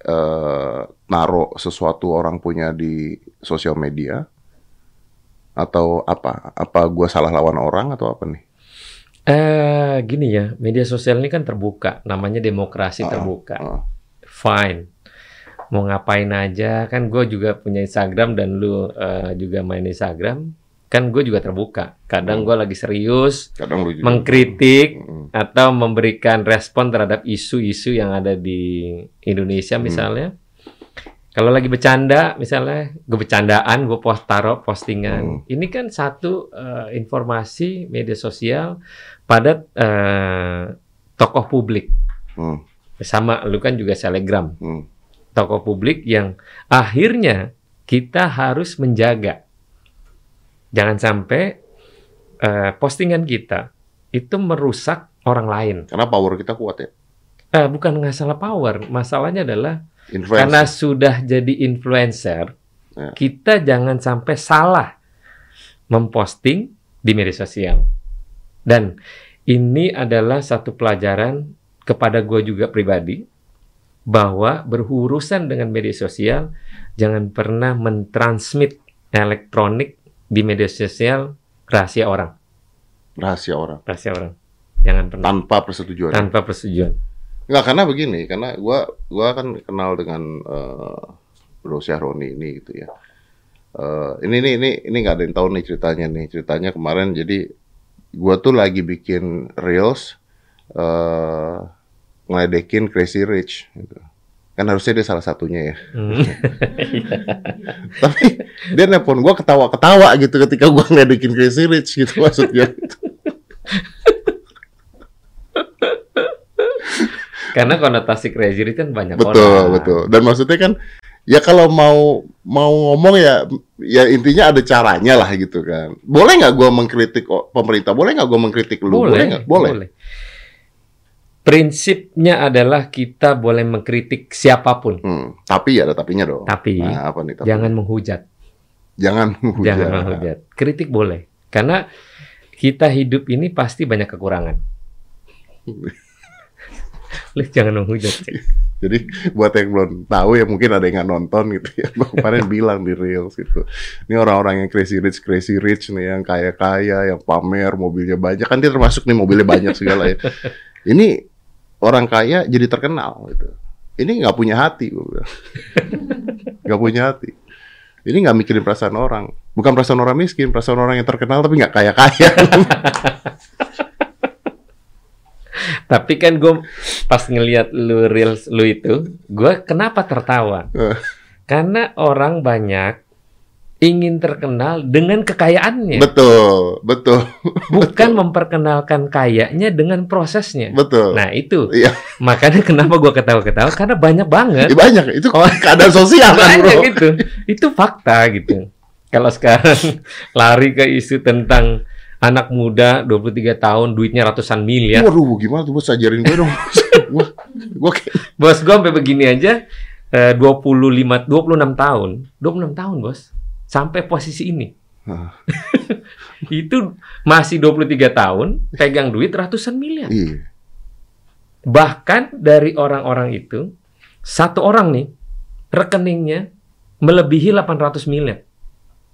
eh naruh sesuatu orang punya di sosial media atau apa? Apa gue salah lawan orang atau apa nih?
Eh gini ya, media sosial ini kan terbuka, namanya demokrasi
Ah,
terbuka.
ah.
Fine. Mau ngapain aja, kan gue juga punya Instagram dan lu eh, juga main Instagram, kan gue juga terbuka.
Hmm.
Kadang gue lagi serius
Kadang lu juga- Hmm,
mengkritik
Mm-mm.
atau memberikan respon terhadap isu-isu yang ada di Indonesia misalnya. Kalau lagi bercanda misalnya, gue bercandaan, gue post taruh postingan. Ini kan satu eh, informasi media sosial pada eh, tokoh publik.
Hmm,
Sama lu kan juga selegram,
hmm.
tokoh publik yang akhirnya kita harus menjaga. Jangan sampai eh, postingan kita itu merusak orang lain.
Karena power kita kuat ya.
Eh, bukan masalah power, masalahnya adalah
Influence.
karena sudah jadi influencer,
Ya.
kita jangan sampai salah memposting di media sosial. Dan ini adalah satu pelajaran kepada gue juga pribadi bahwa berurusan dengan media sosial jangan pernah mentransmit elektronik di media sosial rahasia orang,
rahasia orang
rahasia orang. Jangan pernah
tanpa persetujuan.
tanpa persetujuan.
Nggak, karena begini, karena gua gua kan kenal dengan eh, Bro Syahroni ini gitu ya. Eh, ini ini ini ini nggak ada yang tahu nih ceritanya nih ceritanya kemarin jadi gua tuh lagi bikin reels eh ngeledekin Crazy Rich gitu. kan harusnya dia salah satunya ya
Hmm.
tapi dia nelpon gua ketawa ketawa gitu ketika gua ngeledekin Crazy Rich gitu maksudnya
Karena konotasi crazy rich kan banyak
betul
orang.
betul dan maksudnya kan ya kalau mau mau ngomong ya ya intinya ada caranya lah gitu kan boleh nggak gua mengkritik o- pemerintah boleh nggak gua mengkritik lu boleh nggak boleh,
Prinsipnya adalah kita boleh mengkritik siapapun,
Hmm, tapi ya ada tapinya dong
tapi
Nah, apa nih tapi?
jangan menghujat,
jangan
jangan
menghujat. ya.
menghujat. Kritik boleh, karena kita hidup ini pasti banyak kekurangan. Lu jangan menghujat.
Jadi buat yang belum tahu ya mungkin ada yang nggak nonton gitu ya. Gua kemarin bilang di reels gitu. Ini orang-orang yang crazy rich, crazy rich nih yang kaya-kaya, yang pamer mobilnya banyak kan dia termasuk nih mobilnya banyak segala ya. Ini orang kaya jadi terkenal gitu. Ini nggak punya hati, gua bilang. nggak punya hati. Ini nggak mikirin perasaan orang. Bukan perasaan orang miskin, perasaan orang yang terkenal tapi nggak kaya-kaya.
Tapi kan gue pas ngelihat lu reels lu itu, gue kenapa tertawa?
Eh.
Karena orang banyak ingin terkenal dengan kekayaannya,
betul, betul,
bukan memperkenalkan kayanya dengan prosesnya.
betul.
Nah itu
Iya.
makanya kenapa gue ketawa-ketawa karena banyak banget,
Ya, banyak itu keadaan sosial
banyak
kan bro.
gitu. Itu fakta gitu. Kalau sekarang lari ke isu tentang anak muda 23 tahun duitnya ratusan miliar,
Waduh, gimana tuh bos ajarin gue dong. gua gua kayak
Bos gua sampai begini aja eh, 25 26 tahun. 26 tahun, Bos. Sampai posisi ini.
Ah.
Hah.
Itu masih 23 tahun pegang duit ratusan miliar.
iya.
Bahkan dari orang-orang itu satu orang nih rekeningnya melebihi 800 miliar.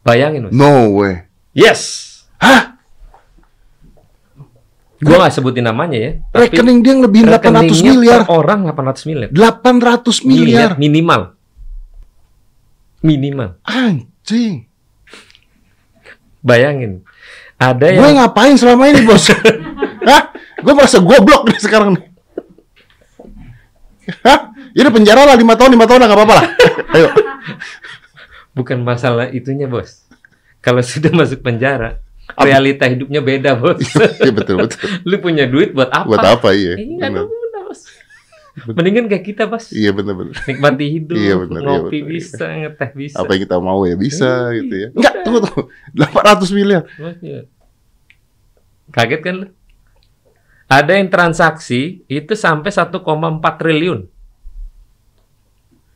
Bayangin, Bos.
No way.
Yes. Hah? Gua nggak sebutin namanya ya. tapi
Rekening dia yang lebih 800
rekeningnya
miliar.
per orang Iya. 800 miliar.
800 miliar.
minimal. Minimal.
Anjing.
Bayangin. Ada
Gue
yang
ngapain selama ini bos?
Hah? Gue merasa goblok nih sekarang nih. Hah? Ini penjara lah 5 tahun, 5 tahun lah gak apa-apa lah. Ayo.
bukan masalah itunya, Bos. Kalau sudah masuk penjara,
Apa?
realita hidupnya beda, Bos.
Iya betul betul.
Lu punya duit buat apa?
Buat apa iya?
Eh, nggak ada
Bener.
guna, Bos. Mendingan kayak kita, Bos.
Iya bener bener.
Nikmati hidup,
Iya, benar, iya,
ngopi
benar, iya.
bisa, ngeteh bisa.
Apa yang kita mau ya
Iya.
bisa gitu ya. Enggak, tunggu tunggu. 800 miliar.
Bos, iya. Kaget kan lu? Ada yang transaksi itu sampai 1,4 triliun.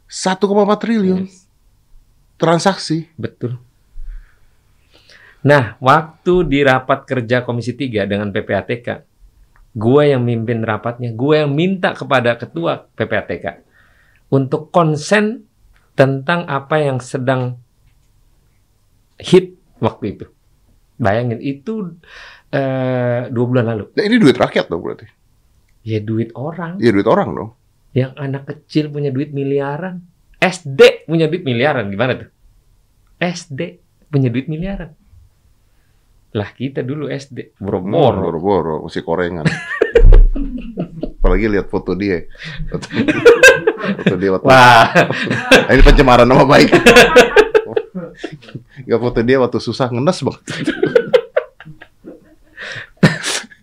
1,4 triliun transaksi.
Betul. Nah, waktu di rapat kerja Komisi 3 dengan PPATK, gue yang mimpin rapatnya, gue yang minta kepada Ketua PPATK untuk konsen tentang apa yang sedang hit waktu itu. Bayangin, itu eh, dua bulan lalu.
Nah, ini duit rakyat dong berarti.
Ya duit orang,
Iya duit orang dong.
yang anak kecil punya duit miliaran. SD punya duit miliaran, gimana tuh? SD punya duit miliaran. Lah kita dulu SD,
Hmm,
boro-boro.
Boro-boro, mesti korengan. Apalagi lihat foto dia. Foto, foto dia waktu
Wah,
Ah, ini pencemaran nama baik. Gak foto dia waktu susah ngenes banget.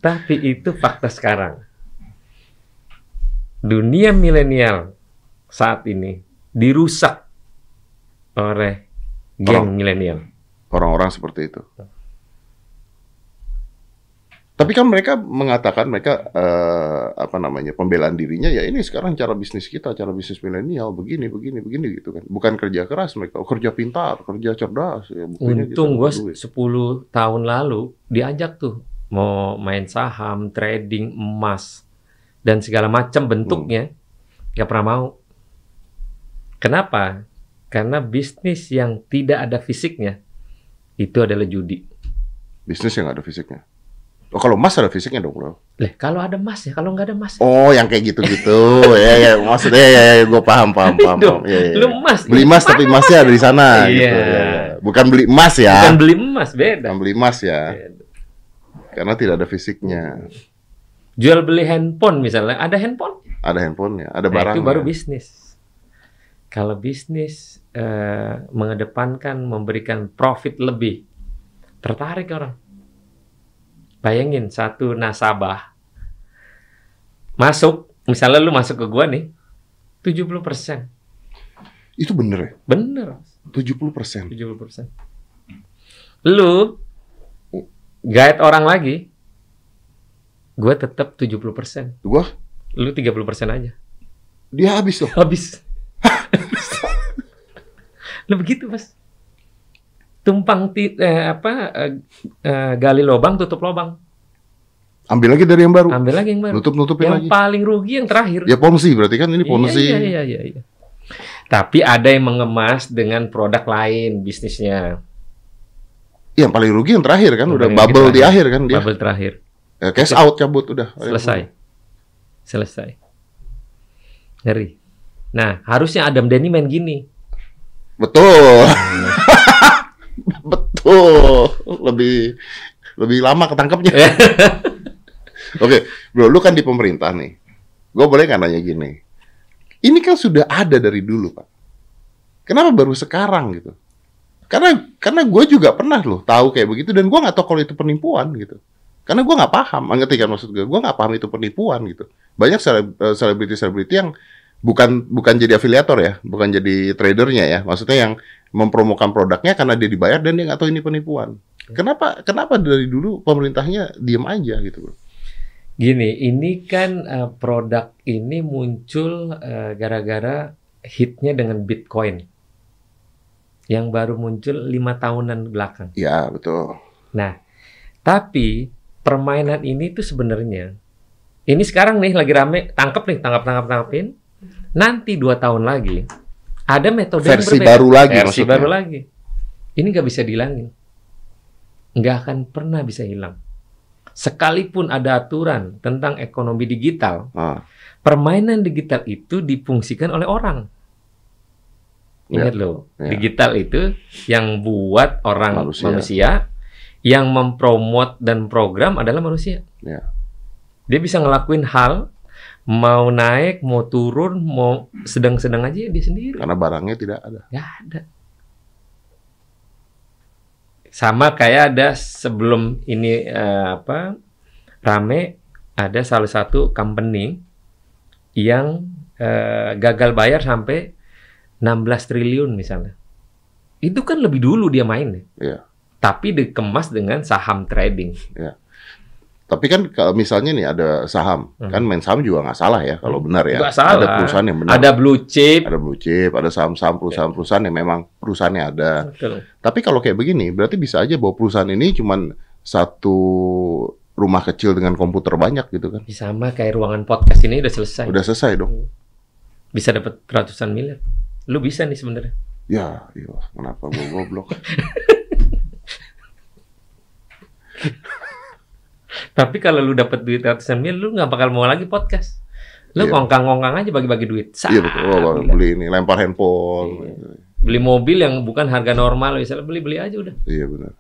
tapi itu fakta sekarang. Dunia milenial saat ini dirusak oleh geng
Orang.
milenial.
Orang-orang seperti itu. Tapi kan mereka mengatakan mereka eh, apa namanya pembelaan dirinya ya ini sekarang cara bisnis kita cara bisnis milenial begini begini begini gitu kan bukan kerja keras mereka oh, kerja pintar kerja cerdas ya, buktinya kita
Untung
dapat
gue
duit.
10 tahun lalu diajak tuh mau main saham, trading emas dan segala macam bentuknya
Hmm.
nggak pernah mau. Kenapa? Karena bisnis yang tidak ada fisiknya itu adalah judi.
bisnis yang nggak ada fisiknya. Oh kalau emas ada fisiknya dong bro.
Lah kalau ada emas ya, kalau nggak ada emas
Oh yang kayak gitu-gitu. ya ya maksudnya ya, ya gue paham paham paham.
Hidup.
paham. Ya, ya, ya.
gitu. lu emas.
Beli emas tapi emasnya ada di
Iya.
sana gitu. Ya, ya. Bukan beli emas ya.
Bukan Iya, beli emas beda.
Bukan beli emas ya. Karena tidak ada fisiknya.
Jual beli handphone misalnya, ada handphone
Ada handphonenya, ada
Nah,
barang.
itu baru bisnis. Kalau bisnis eh, mengedepankan memberikan profit lebih, tertarik orang. Bayangin satu nasabah masuk, misalnya lu masuk ke gua nih, 70%.
Itu bener ya.
Bener,
70 persen.
70%. Lu guide orang lagi, gua tetap 70%.
Wah,
Lu 30% aja.
dia habis dong.
habis. Lah begitu, Mas. Tumpang ti- eh, apa eh, eh, gali lubang tutup lubang.
Ambil lagi dari yang baru.
Ambil lagi yang baru.
Nutup-nutupin
Yang
lagi.
paling rugi yang terakhir.
Ya Ponzi berarti kan ini
Iya,
Ponzi.
Iya, iya, iya, iya. Tapi ada yang mengemas dengan produk lain bisnisnya.
Yang paling rugi yang terakhir kan
Yang
udah
paling rugi
bubble di
terakhir.
akhir kan dia.
Iya, Bubble terakhir.
Ya, cash out cabut udah.
Selesai. Selesai. Ngeri. Nah, harusnya Adam Denny main gini.
Betul. Betul. Lebih lebih lama ketangkepnya. Oke, bro, lu kan di pemerintah nih. Gue boleh nggak nanya gini? Ini kan sudah ada dari dulu, Pak. Kenapa baru sekarang gitu? Karena karena gue juga pernah loh tahu kayak begitu dan gue nggak tahu kalau itu penimpuan gitu. Karena gue nggak paham, ngerti kan maksud gue? Gue nggak paham itu penimpuan gitu. Banyak sele- eh, selebriti-selebriti yang bukan bukan jadi afiliator ya, bukan jadi tradernya ya. Maksudnya yang mempromokan produknya karena dia dibayar dan dia nggak tahu ini penipuan.
Hmm.
Kenapa kenapa dari dulu pemerintahnya diem aja gitu, bro?
Gini, ini kan eh, produk ini muncul eh, gara-gara hitnya dengan Bitcoin yang baru muncul lima tahunan belakang. Nah,
Ya betul.
Tapi permainan ini tuh sebenarnya ini sekarang nih lagi rame tangkep nih tangkap tangkap tangkapin. Nanti dua tahun lagi ada metode yang
Versi
berbeda.
baru lagi
versi
maksudnya.
baru lagi. Ini nggak bisa dihilangin, nggak akan pernah bisa hilang. Sekalipun ada aturan tentang ekonomi digital,
Ah,
permainan digital itu difungsikan oleh orang. Ingat loh,
ya.
digital itu yang buat orang
Manusia.
manusia. yang mempromot dan program adalah manusia.
Ya.
Dia bisa ngelakuin hal mau naik, mau turun, mau sedang-sedang aja dia sendiri.
karena barangnya tidak ada.
Gak ada. Sama kayak ada sebelum ini eh, apa rame ada salah satu company yang eh, gagal bayar sampai 16 triliun misalnya. Itu kan lebih dulu dia main ya.
Iya.
Tapi dikemas dengan saham trading.
Tapi kan kalau misalnya nih ada saham,
Hmm.
kan main saham juga nggak salah ya kalau benar ya.
Nggak salah.
Ada perusahaan yang benar.
Ada blue chip.
Ada blue chip, ada saham-saham perusahaan-perusahaan yang memang perusahaannya ada.
Betul.
Tapi kalau kayak begini, berarti bisa aja bahwa perusahaan ini cuman satu rumah kecil dengan komputer banyak gitu kan.
Sama kayak ruangan podcast ini udah selesai.
Udah selesai dong.
Bisa dapat ratusan miliar. Lu bisa nih sebenarnya.
Ya, iya, kenapa gua goblok?
Tapi kalau lu dapat duit ratusan mil, lu nggak bakal mau lagi podcast. Lu
Iya.
ngongkang-ngongkang aja bagi-bagi duit. Sah,
Iya betul. Wah, wah,
gila.
beli ini lempar handphone.
Beli mobil yang bukan harga normal, misalnya beli-beli aja udah.
Iya benar.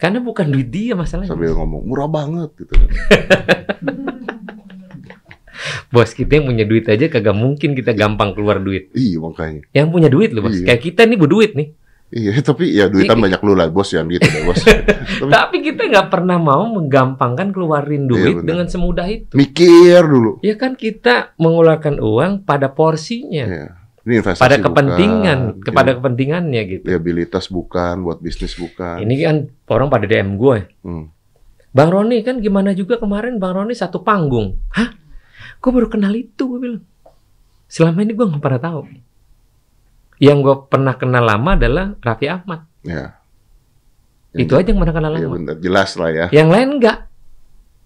Karena bukan duit dia masalahnya.
Sambil ngomong murah banget gitu kan.
Bos kita yang punya duit aja kagak mungkin kita gampang keluar duit.
Iya makanya.
Yang punya duit loh, Bos.
Iya.
Kayak kita nih berduit nih.
Iya, tapi ya
Iya.
duitan banyak lu lah, bos yang gitu deh, bos. Tapi- Iya,
Tapi kita nggak pernah mau menggampangkan keluarin duit
benar.
dengan semudah itu.
Mikir dulu.
Ya kan kita mengeluarkan uang pada porsinya,
Iya. Ini investasi
pada
bukan.
kepentingan,
Iya. Iya.
kepada kepentingannya gitu.
liabilitas bukan, buat bisnis bukan.
Ini kan orang pada DM gue.
Hmm.
Bang Roni kan gimana juga kemarin Bang Roni satu panggung. Hah? Gue baru kenal itu gue bilang. Selama ini gue nggak pernah tahu. Yang gue pernah kenal lama adalah Raffi Ahmad.
Ya.
Itu aja yang pernah kenal
Iya
lama.
benar, jelas lah ya.
Yang lain enggak.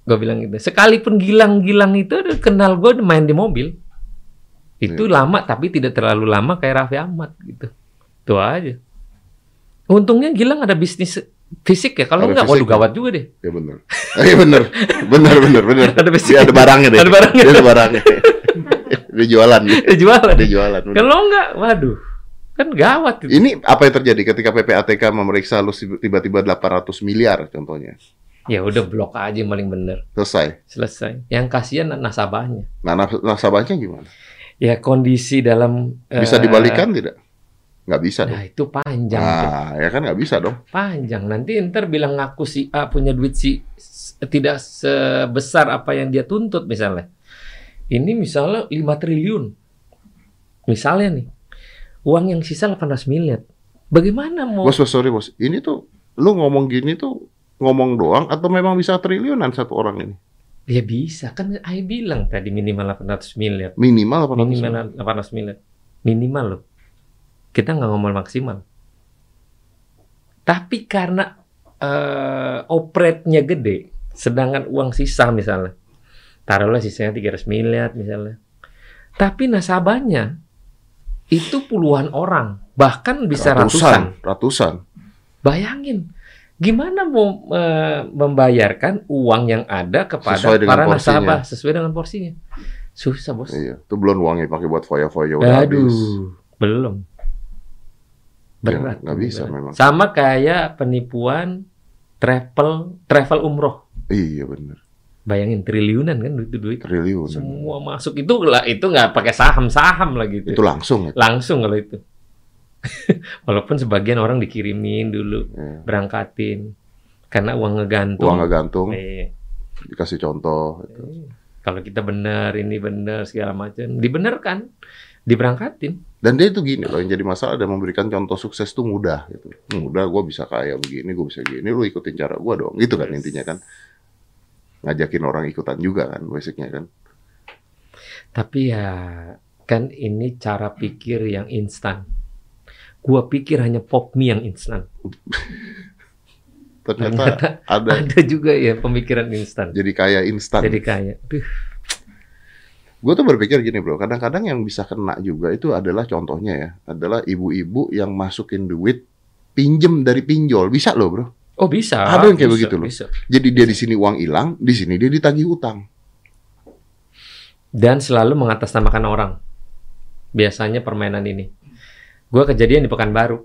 Gue bilang gitu. Sekalipun Gilang-Gilang itu ada kenal gue main di mobil. Itu
Iya.
lama tapi tidak terlalu lama kayak Raffi Ahmad gitu. Itu aja. Untungnya Gilang ada bisnis fisik ya. Kalau
Ada
enggak, waduh
fisiknya.
gawat juga deh.
Iya benar. Iya benar. Benar benar benar.
Ada bisnis.
Dia ada barangnya deh.
Ada barangnya.
Dia ada barangnya. Dia jualan.
Jualan.
Dia jualan. bener.
Kalau enggak, waduh, kan gawat itu.
Ini apa yang terjadi ketika PPATK memeriksa lu tiba-tiba 800 miliar contohnya.
Ya udah blok aja yang paling bener,
Selesai.
selesai. Yang kasihan nasabahnya.
Nah, nas- nasabahnya gimana?
Ya kondisi dalam eh,
Bisa dibalikan tidak? Nggak bisa dong.
Nah itu panjang, tuh.
Nah, ya kan nggak bisa dong.
panjang. Nanti ntar bilang ngaku si A punya duit si s- tidak sebesar apa yang dia tuntut misalnya. Ini misalnya 5 triliun. Misalnya nih, uang yang sisa 18 miliar. Bagaimana mau?
Bos, bos, sorry bos. Ini tuh lu ngomong gini tuh ngomong doang atau memang bisa triliunan satu orang ini?
Ya bisa, kan saya bilang tadi minimal 800 miliar.
Minimal apa
minimal 800 miliar minimal loh kita nggak ngomong maksimal tapi karena eh operate-nya gede Sedangkan uang sisa misalnya, taruhlah sisanya 300 miliar misalnya. Tapi nasabahnya itu puluhan orang, bahkan bisa ratusan.
ratusan.
Bayangin, gimana mau eh, membayarkan uang yang ada kepada
Sesuai dengan
para
porsinya.
nasabah sesuai dengan porsinya? Susah bos.
Iya, itu belum uangnya pakai buat foya-foya udah
Aduh,
habis.
belum.
Ya,
Berat.
nggak bisa
berat.
memang.
Sama kayak penipuan travel travel umroh.
Iya bener,
Bayangin triliunan kan duit duit.
triliun.
Semua masuk itu lah itu nggak pakai saham-saham lah gitu.
Itu langsung ya.
Langsung kalau itu. Walaupun sebagian orang dikirimin dulu
Iya.
berangkatin karena uang ngegantung.
Uang nggak gantung,
Eh,
dikasih contoh. Gitu.
kalau kita benar ini benar segala macam dibenarkan diberangkatin
Dan dia itu gini loh, yang jadi masalah ada memberikan contoh sukses tuh mudah gitu. Mudah, gue bisa kaya begini, gue bisa gini, lu ikutin cara gue dong. Gitu kan
Yes.
intinya kan. Ngajakin orang ikutan juga kan, basicnya kan.
Tapi ya kan ini cara pikir yang instan. Gua pikir hanya pop mie yang instan.
Ternyata
Ternyata
ada
ada juga ya pemikiran instan.
jadi kaya instan.
Jadi kayak, "Duh,
Gue tuh berpikir gini bro, kadang-kadang yang bisa kena juga itu adalah contohnya ya, adalah ibu-ibu yang masukin duit pinjem dari pinjol, bisa loh bro.
oh bisa.
Ada yang kayak
bisa,
begitu loh.
bisa.
Jadi dia di sini uang hilang, di sini dia ditagih utang.
Dan selalu mengatasnamakan orang. Biasanya permainan ini. Gua kejadian di Pekanbaru.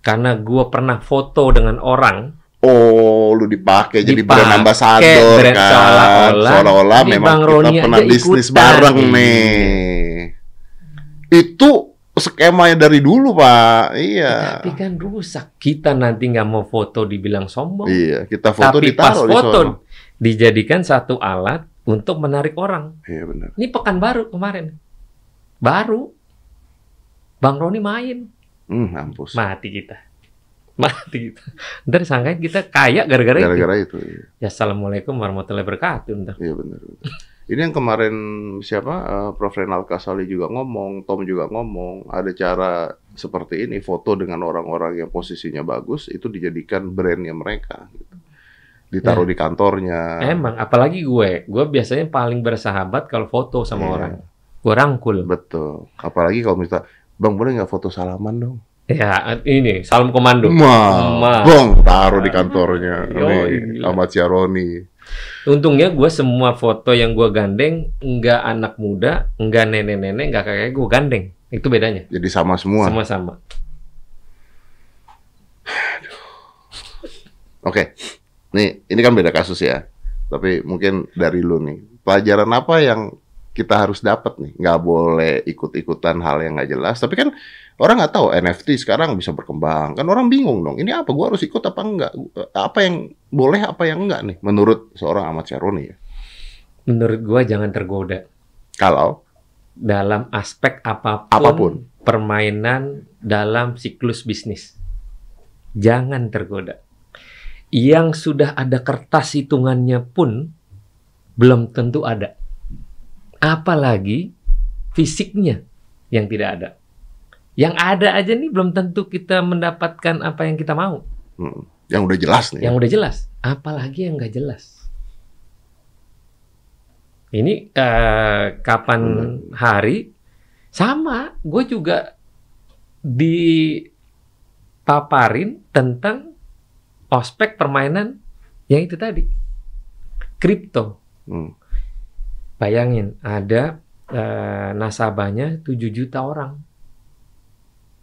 Karena gua pernah foto dengan orang
Oh, lu dipakai jadi
Dipakai,
brand ambassador
brand
kan.
seolah-olah.
Seolah-olah
Jadi
memang
Bang
kita
Roni
pernah
aja
bisnis
ikutan,
bareng
iya.
nih. Itu skemanya dari dulu, Pak. Iya.
Tapi kan rusak. Kita nanti nggak mau foto dibilang sombong.
Iya, kita foto
Tapi pas
ditaruh di
foto
sono.
dijadikan satu alat untuk menarik orang.
Iya, benar.
Ini pekan baru kemarin. Baru. Bang Roni main.
Hmm, mampus.
Mati kita. Mati kita. Ntar sangkain kita kaya gara-gara itu.
Gara-gara itu. Iya,
Ya Assalamualaikum warahmatullahi wabarakatuh. Ntar.
iya benar. benar. Ini yang kemarin siapa? eh, Prof. Renal Kasali juga ngomong, Tom juga ngomong, ada cara seperti ini foto dengan orang-orang yang posisinya bagus itu dijadikan brandnya mereka. Gitu. Ditaruh di kantornya.
Emang, apalagi gue. Gue biasanya paling bersahabat kalau foto sama
Iya.
orang. Gue rangkul.
Betul. Apalagi kalau misalnya, Bang boleh nggak foto salaman dong?
Ya ini, salam komando. Ma.
Ma, Bang taruh di kantornya.
Yo,
Nih,
gila.
sama Ciaroni.
Untungnya gue semua foto yang gue gandeng nggak anak muda, nggak nenek-nenek, nggak kakek gue gandeng. Itu bedanya.
Jadi sama semua.
Semua sama.
Oke, nih ini kan beda kasus ya. Tapi mungkin dari lu nih, pelajaran apa yang kita harus dapat nih? Nggak boleh ikut-ikutan hal yang nggak jelas. Tapi kan orang nggak tahu NFT sekarang bisa berkembang. Kan orang bingung dong. Ini apa? Gua harus ikut apa enggak? Apa yang boleh, apa yang enggak nih? Menurut seorang Ahmad Syaroni ya.
Menurut gue jangan tergoda
Kalau
dalam aspek apapun,
Apapun.
permainan dalam siklus bisnis. Jangan tergoda. Yang sudah ada kertas hitungannya pun belum tentu ada. Apalagi fisiknya yang tidak ada. Yang ada aja nih belum tentu kita mendapatkan apa yang kita mau.
hmm, yang udah jelas nih. ya.
Yang udah jelas, apalagi yang nggak jelas. Ini eh, kapan hari sama, gue juga dipaparin tentang ospek permainan yang itu tadi, kripto.
Hmm,
Bayangin, ada eh, nasabahnya 7 juta orang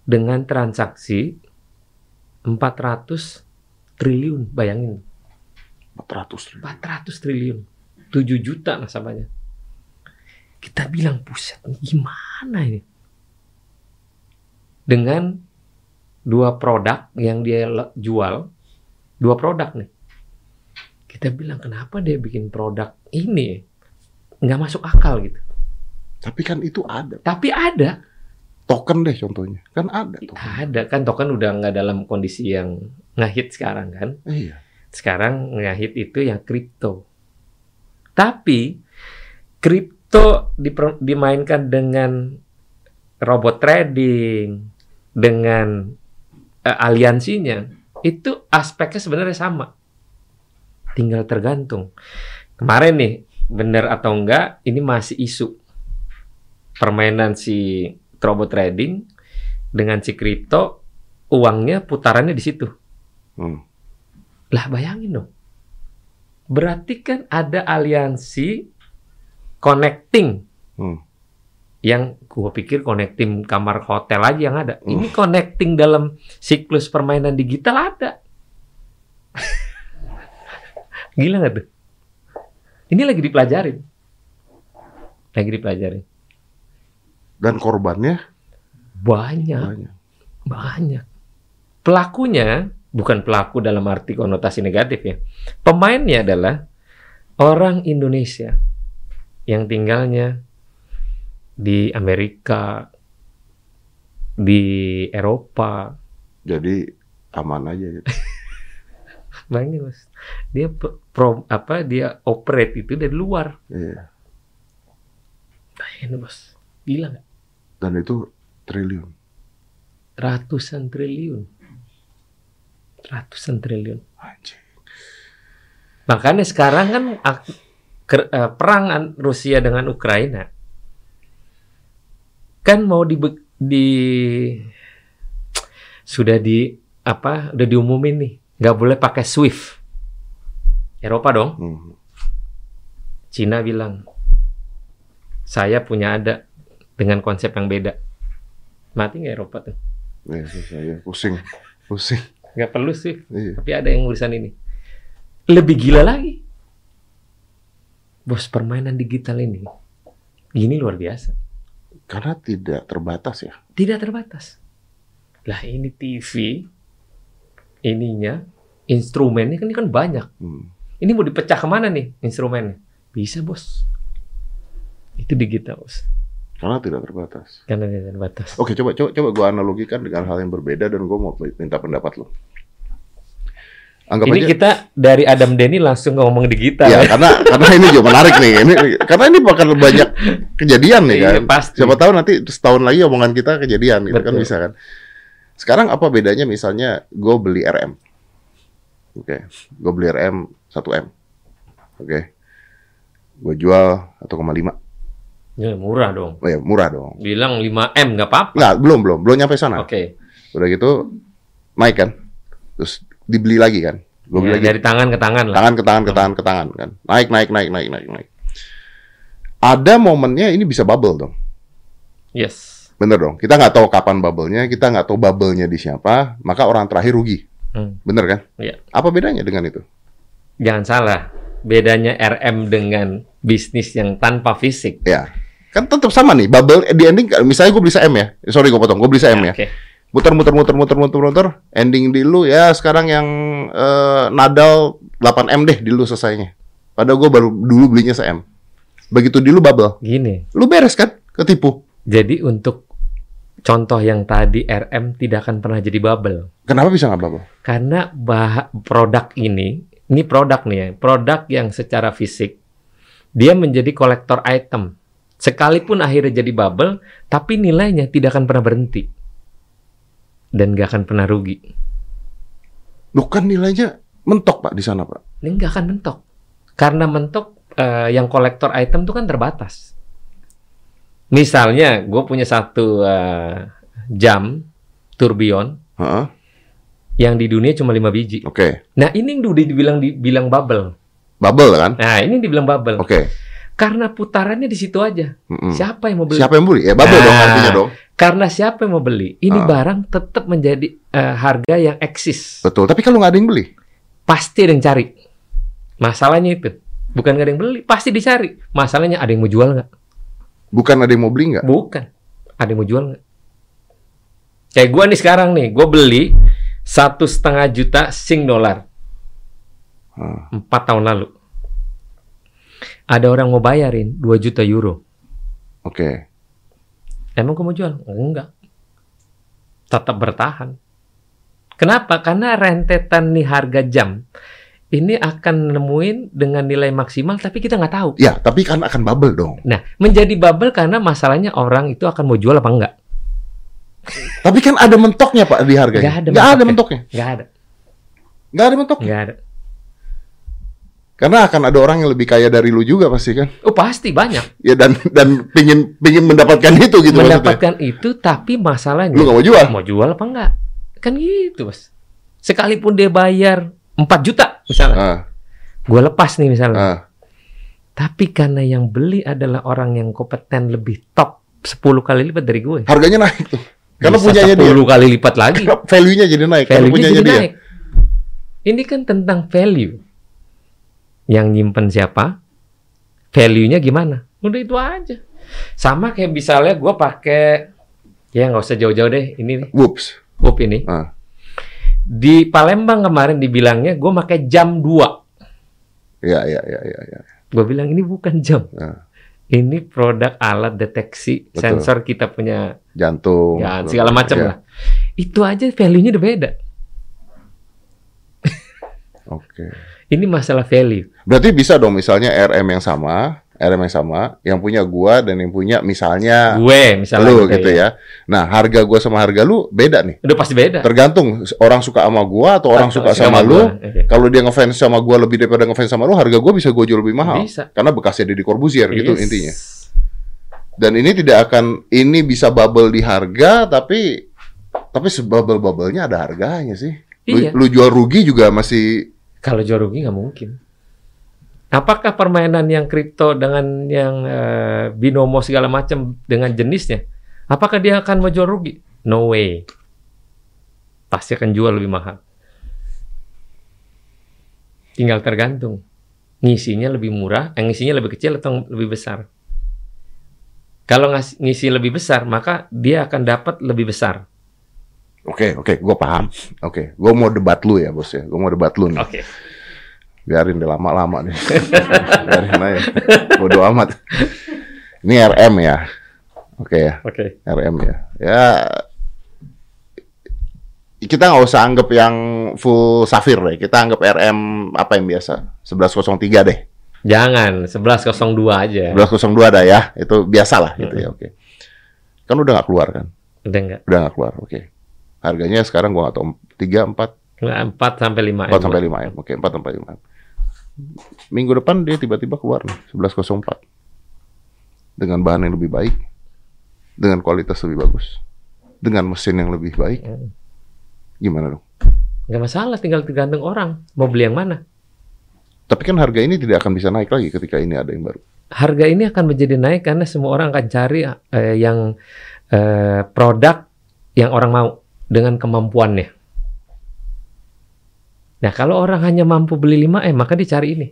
dengan transaksi 400 triliun, bayangin.
400 ribu.
400 triliun. 7 juta nasabahnya. Kita bilang, pusat gimana ini? Dengan dua produk yang dia le- jual, dua produk nih. Kita bilang, kenapa dia bikin produk ini? Nggak masuk akal gitu.
Tapi kan itu ada.
Tapi ada.
Token deh contohnya. Kan ada token.
Ada. Kan token udah nggak dalam kondisi yang ngehit sekarang kan.
Iya.
sekarang ngehit itu yang kripto. Tapi kripto diper- dimainkan dengan robot trading, e, dengan eh, aliansinya, itu aspeknya sebenarnya sama. tinggal tergantung. Kemarin nih, bener atau enggak, ini masih isu. Permainan si Trobo Trading dengan si kripto, uangnya putarannya di situ.
Hmm.
Lah bayangin dong. Berarti kan ada aliansi connecting.
Hmm.
Yang gua pikir connecting kamar hotel aja yang ada. Ini connecting dalam siklus permainan digital ada. Gila nggak tuh? Ini lagi dipelajarin. Lagi dipelajarin.
Dan korbannya
Banyak.
banyak.
Banyak. Pelakunya bukan pelaku dalam arti konotasi negatif ya. Pemainnya adalah orang Indonesia yang tinggalnya di Amerika, di Eropa.
Jadi aman aja. gitu.
Bayangin Mas. Dia pe- pro, apa dia operate itu dari luar.
Iya.
Bayangin Bos. Gila nggak?
Dan itu triliun.
Ratusan triliun. Ratusan triliun.
Anjing.
Makanya sekarang kan ak- ker- eh, perang an- Rusia dengan Ukraina kan mau di, di sudah di apa udah diumumin nih nggak boleh pakai SWIFT Eropa dong
Hmm.
Cina bilang saya punya ada dengan konsep yang beda mati nggak Eropa tuh
Iya, susah ya. Pusing. Pusing.
nggak perlu SWIFT
Iya.
tapi ada yang urusan ini lebih gila lagi bos permainan digital ini gini luar biasa
Karena tidak terbatas ya.
tidak terbatas lah ini TV ininya instrumennya kan ini kan banyak
Hmm.
ini mau dipecah kemana nih instrumennya bisa bos itu digital bos
Karena tidak terbatas.
karena tidak terbatas
Oke, coba coba coba gue analogikan dengan hal yang berbeda dan gue mau minta pendapat lo. Anggap
ini
aja.
kita dari Adam Denny langsung ngomong digital
Ya, karena karena ini juga menarik nih. Ini karena ini bakal banyak kejadian nih
Iya,
kan.
pasti.
Siapa tahu nanti setahun lagi omongan kita kejadian gitu kan
Betul.
bisa kan. Sekarang apa bedanya misalnya gue beli RM. Oke, gue beli RM 1M. Oke. Gue jual 1,5.
Ya, murah dong
Oh ya, murah dong.
bilang 5M nggak apa-apa
Enggak, belum belum, belum nyampe sana.
oke
Udah gitu naik kan. Terus dibeli lagi kan. Gue
Ya,
beli lagi
dari tangan ke tangan lah
tangan ke tangan ke tangan ke tangan kan. Naik naik naik naik naik naik. Ada momennya ini bisa bubble dong.
yes
Bener dong. Kita nggak tahu kapan bubble-nya, kita nggak tahu bubble-nya di siapa, maka orang terakhir rugi.
Hmm.
Bener kan?
Iya.
Apa bedanya dengan itu?
jangan salah bedanya RM dengan bisnis yang tanpa fisik
Ya. Kan tetap sama nih, bubble eh, di ending misalnya gue beli M ya. Sorry gue potong, gue beli M ya.
oke
Muter muter muter muter muter muter ending di lu ya sekarang yang eh, Nadal 8M deh di lu selesainya. Padahal gue baru dulu belinya 1M. Begitu di lu bubble,
gini
lu beres kan? Ketipu.
jadi untuk contoh yang tadi RM tidak akan pernah jadi bubble
Kenapa bisa nggak bubble?
karena bah produk ini ini produk nih ya produk yang secara fisik dia menjadi kolektor item sekalipun akhirnya jadi bubble tapi nilainya tidak akan pernah berhenti dan gak akan pernah rugi
Lu kan nilainya mentok pak di sana pak.
ini nggak akan mentok karena mentok eh, yang kolektor item itu kan terbatas misalnya gue punya satu eh, jam turbion
Heeh.
yang di dunia cuma 5 biji
Oke,
nah ini yang udah dibilang dibilang bubble
bubble kan?
nah ini yang dibilang bubble
Oke.
karena putarannya di situ aja
Mm-mm.
siapa yang mau beli
Siapa yang beli? Ya bubble
Nah.
dong artinya dong.
karena siapa yang mau beli ini
Ah.
barang tetap menjadi eh, harga yang eksis
Betul. Tapi kalau nggak ada yang beli,
pasti ada yang cari masalahnya itu bukan nggak ada yang beli pasti dicari masalahnya ada yang mau jual nggak
bukan ada yang mau beli nggak?
Bukan. Ada yang mau jual nggak? Kayak gue nih sekarang nih, gue beli satu setengah juta sing dolar
Hmm.
empat tahun lalu. Ada orang mau bayarin 2 juta euro.
Oke.
Emang gue mau jual? Enggak. Tetap bertahan. Kenapa? Karena rentetan nih harga jam ini akan nemuin dengan nilai maksimal tapi kita nggak tahu.
Ya, tapi kan akan bubble dong.
Nah, menjadi bubble karena masalahnya orang itu akan mau jual apa enggak.
Tapi kan ada mentoknya pak di harganya.
Nggak ada
Nggak ada
mentoknya.
mentoknya.
Nggak ada.
Nggak ada mentoknya.
Nggak ada.
Karena akan ada orang yang lebih kaya dari lu juga pasti kan.
Oh pasti banyak
Ya dan dan pingin pingin mendapatkan itu gitu maksudnya.
mendapatkan itu tapi masalahnya
Lu nggak mau jual?
mau jual apa enggak? Kan gitu, Bos. Sekalipun dia bayar 4 juta misalnya,
Ah,
gua lepas nih misalnya.
ah,
Tapi karena yang beli adalah orang yang kompeten lebih top 10 kali lipat dari gue.
Harganya naik tuh. Karena
Bisa
punyanya dia.
10 kali lipat lagi.
Karena value-nya jadi naik. Karena
Value-nya
punyanya
jadi
dia.
naik. Ini kan tentang value. Yang nyimpen siapa? Value-nya gimana? Udah itu aja. Sama kayak misalnya gue pakai ya nggak usah jauh-jauh deh ini nih,
Whoops.
Up ini.
Ah.
Di Palembang kemarin dibilangnya gue pakai jam 2.
Ya, ya, ya, ya, ya.
Gue bilang ini bukan jam.
Nah.
Ini produk alat deteksi
Betul.
sensor kita punya
Jantung.
ya, segala macam
Ya,
lah. Itu aja value-nya udah beda.
Oke.
Ini masalah value.
Berarti bisa dong misalnya RM yang sama, RM yang sama, yang punya gua dan yang punya misalnya
Gue misalnya
Ah. lu
gitu
gitu ya. Nah, harga gua sama harga lu beda nih.
Udah pasti beda.
Tergantung orang suka sama gua atau orang
Atau
suka sama
gua. Iya,
lu.
Oke.
Kalau dia ngefans sama gua lebih daripada ngefans sama lu, harga gua bisa gua jual lebih mahal.
Bisa. Iya.
Karena bekasnya Deddy Corbuzier gitu
Yes.
intinya. Dan ini tidak akan ini bisa bubble di harga tapi tapi sebubble-bubblenya ada harganya sih. Lu,
Iya.
lu jual rugi juga masih
Kalau jual rugi nggak mungkin. Apakah permainan yang kripto dengan yang eh, binomo segala macam dengan jenisnya, apakah dia akan mau jual rugi? No way. Pasti akan jual lebih mahal. Tinggal tergantung ngisinya lebih murah, eh, ngisinya lebih kecil atau lebih besar. Kalau ngas- ngisi lebih besar, maka dia akan dapat lebih besar.
Oke, oke, gua paham. Oke, gua mau debat lu ya, Bos ya. Gua mau debat lu nih.
Oke.
biarin deh lama-lama nih biarin aja bodo amat ini RM ya oke ya
Oke.
RM ya ya kita nggak usah anggap yang full safir deh kita anggap RM apa yang biasa 1103 deh
Jangan, 1102 aja.
1102 ada ya itu biasa lah gitu ya oke kan udah nggak keluar kan
Udah enggak?
udah nggak keluar oke harganya sekarang gua nggak tahu tiga empat
Enggak, 4 sampai 5.
empat sampai lima m oke empat sampai lima m minggu depan dia tiba-tiba keluar nih 11.04 dengan bahan yang lebih baik dengan kualitas lebih bagus dengan mesin yang lebih baik gimana dong
Enggak masalah, tinggal tergantung orang. Mau beli yang mana?
tapi kan harga ini tidak akan bisa naik lagi ketika ini ada yang baru
Harga ini akan menjadi naik karena semua orang akan cari eh, yang eh, produk yang orang mau dengan kemampuannya. Nah, kalau orang hanya mampu beli 5 M, maka dia cari ini.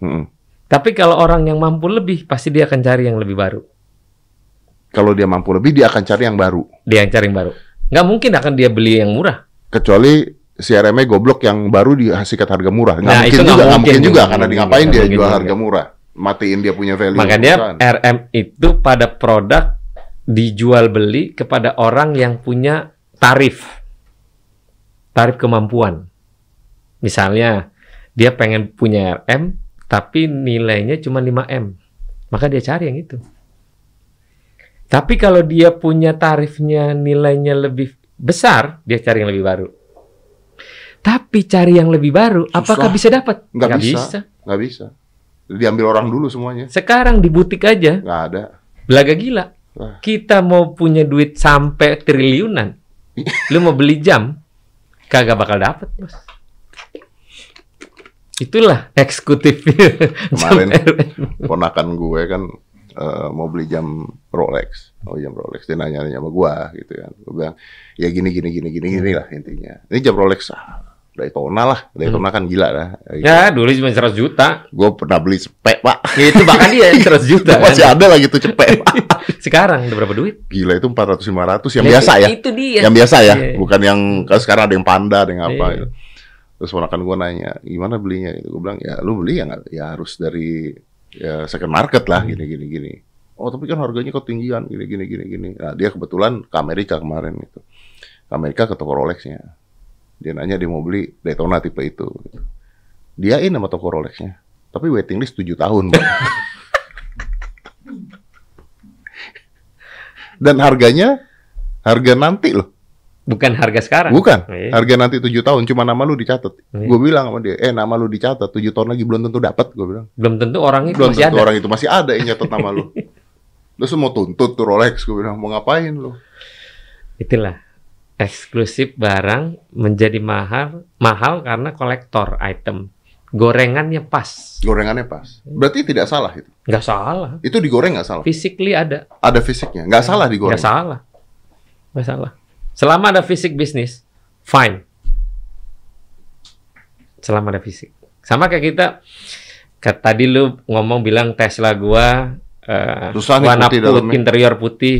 Mm-mm.
Tapi kalau orang yang mampu lebih, pasti dia akan cari yang lebih baru.
kalau dia mampu lebih dia akan cari yang baru
Dia yang cari yang baru. Nggak mungkin akan dia beli yang murah.
kecuali CRM-nya goblok yang baru dihasikat harga murah nggak
Nah,
mungkin
itu nggak
juga nggak
mungkin.
mungkin juga
Nggak
karena di
mungkin,
ngapain
nggak
dia
mungkin
jual
juga.
harga murah matiin dia punya value
Makanya
perusahaan.
RM itu pada produk dijual beli kepada orang yang punya tarif. Tarif kemampuan. Misalnya dia pengen punya RM tapi nilainya cuma 5M. Maka dia cari yang itu. Tapi kalau dia punya tarifnya nilainya lebih besar, dia cari yang lebih baru. Tapi cari yang lebih baru, apakah bisa dapat?
nggak
Nggak
bisa. nggak bisa diambil orang dulu semuanya
Sekarang di butik aja
nggak ada
Belaga gila.
Wah.
Kita mau punya duit sampai triliunan. Lu mau beli jam, kagak bakal dapet, Bos. Itulah eksekutif
Kemarin.
jam RN.
ponakan gue kan eh, mau beli jam Rolex, mau jam Rolex. Dia nanya-nanya sama gue gitu kan. Gue bilang, ya gini gini gini gini
Hmm.
gini lah intinya. Ini jam Rolex ah, Daytona lah. Daytona kan gila dah.
Ya, dulu cuma 100 juta.
Gue pernah beli cepek pak.
Itu bahkan dia 100 juta. kan.
Masih ada lagi tuh cepek. Pak.
Sekarang udah berapa duit?
Gila itu 400 500 yang
Nah,
biasa ya.
Itu dia.
Yang biasa ya,
Iya.
bukan yang kan sekarang ada yang panda, ada yang apa
Iya.
gitu. Terus ponakan gue nanya, gimana belinya? Gitu. Gue bilang, ya lu beli ya, nggak- ya harus dari ya, second market lah,
Hmm.
gini, gini, gini. Oh tapi kan harganya ketinggian, gini, gini, gini, gini. Nah dia kebetulan ke Amerika kemarin gitu. Ke Amerika ke toko Rolexnya. Dia nanya dia mau beli Daytona tipe itu. Gitu. Diain sama toko Rolexnya. Tapi waiting list 7 tahun. Bang. Dan harganya, harga nanti loh.
bukan harga sekarang.
Bukan.
Iya.
Harga nanti 7 tahun cuma nama lu dicatat.
Iya.
Gue bilang sama dia, "Eh, nama lu dicatat 7 tahun lagi belum tentu dapat." Gue bilang.
Belum tentu orangnya
Belum
masih
tentu
ada.
orang itu masih ada yang nyatet nama lu. Terus lu mau tuntut tuh Rolex, gue bilang mau ngapain lu?
Itulah eksklusif barang menjadi mahal mahal karena kolektor item. Gorengannya pas.
Gorengannya pas.
Iya.
Berarti tidak salah itu.
Nggak salah.
Itu digoreng nggak salah.
Physically ada.
Ada fisiknya, nggak salah
Iya.
digoreng.
Nggak salah. Nggak salah. Selama ada fisik bisnis, fine. Selama ada fisik. Sama kayak kita, kayak tadi lu ngomong bilang Tesla gua eh,
Susah nih
warna
putih
putih
dalamnya.
interior putih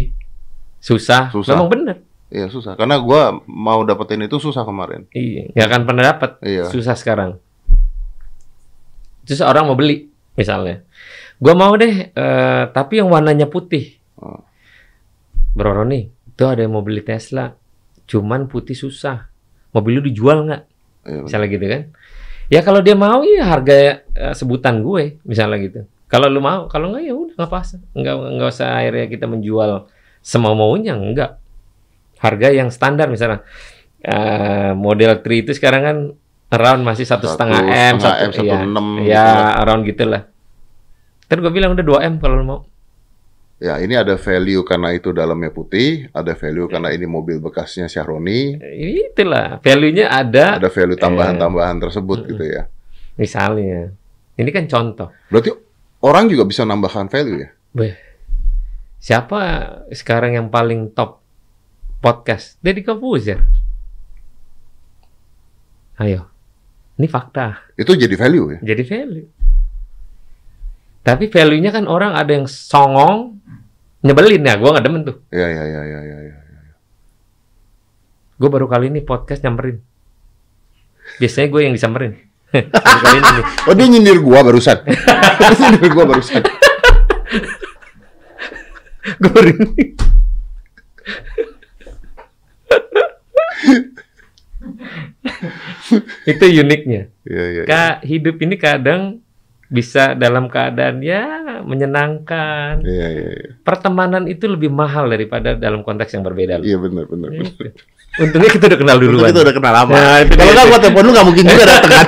susah.
Susah.
Memang bener.
Iya susah. Karena gua mau dapetin itu susah kemarin.
Iya, nggak akan pernah dapat.
Iya.
Susah sekarang. Terus orang mau beli, misalnya, gua mau deh, eh, tapi yang warnanya putih.
Hmm.
Bro Roni, itu ada yang mau beli Tesla, cuman putih susah. Mobil lu dijual nggak?
Iya,
Misalnya gitu kan? Ya kalau dia mau ya harga eh, sebutan gue, misalnya gitu. Kalau lu mau, kalau nggak ya udah nggak pas, nggak nggak usah akhirnya kita menjual semau maunya nggak. Harga yang standar misalnya eh, model 3 itu sekarang kan around masih satu setengah m,
setengah M,
satu
satu
ya,
enam,
ya
gitu lah.
around gitulah. Terus gue bilang udah 2 m kalau lu mau.
Ya ini ada value karena itu dalamnya putih, ada
Iya.
value karena ini mobil bekasnya Syahroni,
Eh, Itulah value-nya ada
ada value tambahan-tambahan
Iya.
tersebut gitu ya.
Misalnya, ini kan contoh.
Berarti orang juga bisa nambahkan value ya?
Beh, siapa sekarang yang paling top podcast? Deddy Corbuzier. Ayo, ini fakta.
Itu jadi value ya?
Jadi value. Tapi value-nya kan orang ada yang songong, nyebelin ya. Gue nggak demen tuh.
Ya ya ya ya ya. ya.
Gue baru kali ini podcast nyamperin. Biasanya gue yang disamperin. baru kali ini. nih.
Oh dia nyindir gua barusan. Dia nyindir gua barusan.
Gue baru ini. Itu uniknya.
Iya iya. iya.
Kak, hidup ini kadang bisa dalam keadaan ya menyenangkan.
Iya iya iya.
Pertemanan itu lebih mahal daripada dalam konteks yang berbeda.
Iya benar benar. benar.
Untungnya kita udah kenal
Untung
duluan. Eh,
Kita udah kenal lama.
Nah, itu
Kalau
dia.
nggak gua telepon lu nggak mungkin juga dateng kan.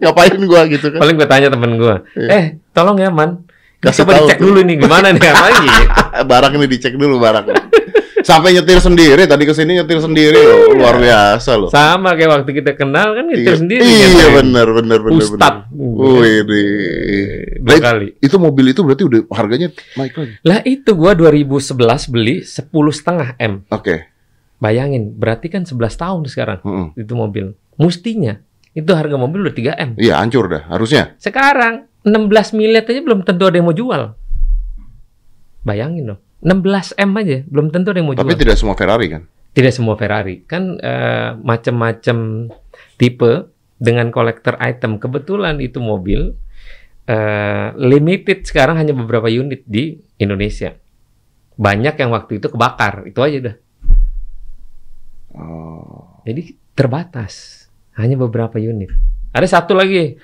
Ngapain gua gitu kan?
Paling gue tanya temen gue, eh tolong ya man,
Iya. Kasih
coba
tahu
dicek
tuh."
dulu nih gimana nih apa gitu.
barang ini dicek dulu barang. Sampai nyetir sendiri, tadi kesini nyetir sendiri loh. Luar biasa loh.
Sama kayak waktu kita kenal kan itu
Iya,
sendiri.
Iya
nyetir.
benar benar benar.
Ustad. Iya.
Wih, di.
Dua kali.
Itu mobil itu berarti udah harganya naik lagi.
Lah itu gue 2011 beli 10,5 M.
Oke.
Bayangin, berarti kan 11 tahun sekarang
Mm-mm.
itu mobil. Mustinya itu harga mobil udah 3 M.
Iya hancur dah harusnya.
Sekarang 16 miliar aja belum tentu ada yang mau jual. Bayangin dong. 16 M aja belum tentu ada yang mau
Tapi
jual.
tidak semua Ferrari kan.
Tidak semua Ferrari kan eh, macam-macam tipe dengan kolektor item. Kebetulan itu mobil eh, limited sekarang hanya beberapa unit di Indonesia. Banyak yang waktu itu kebakar, itu aja dah.
Oh.
Jadi terbatas, hanya beberapa unit. Ada satu lagi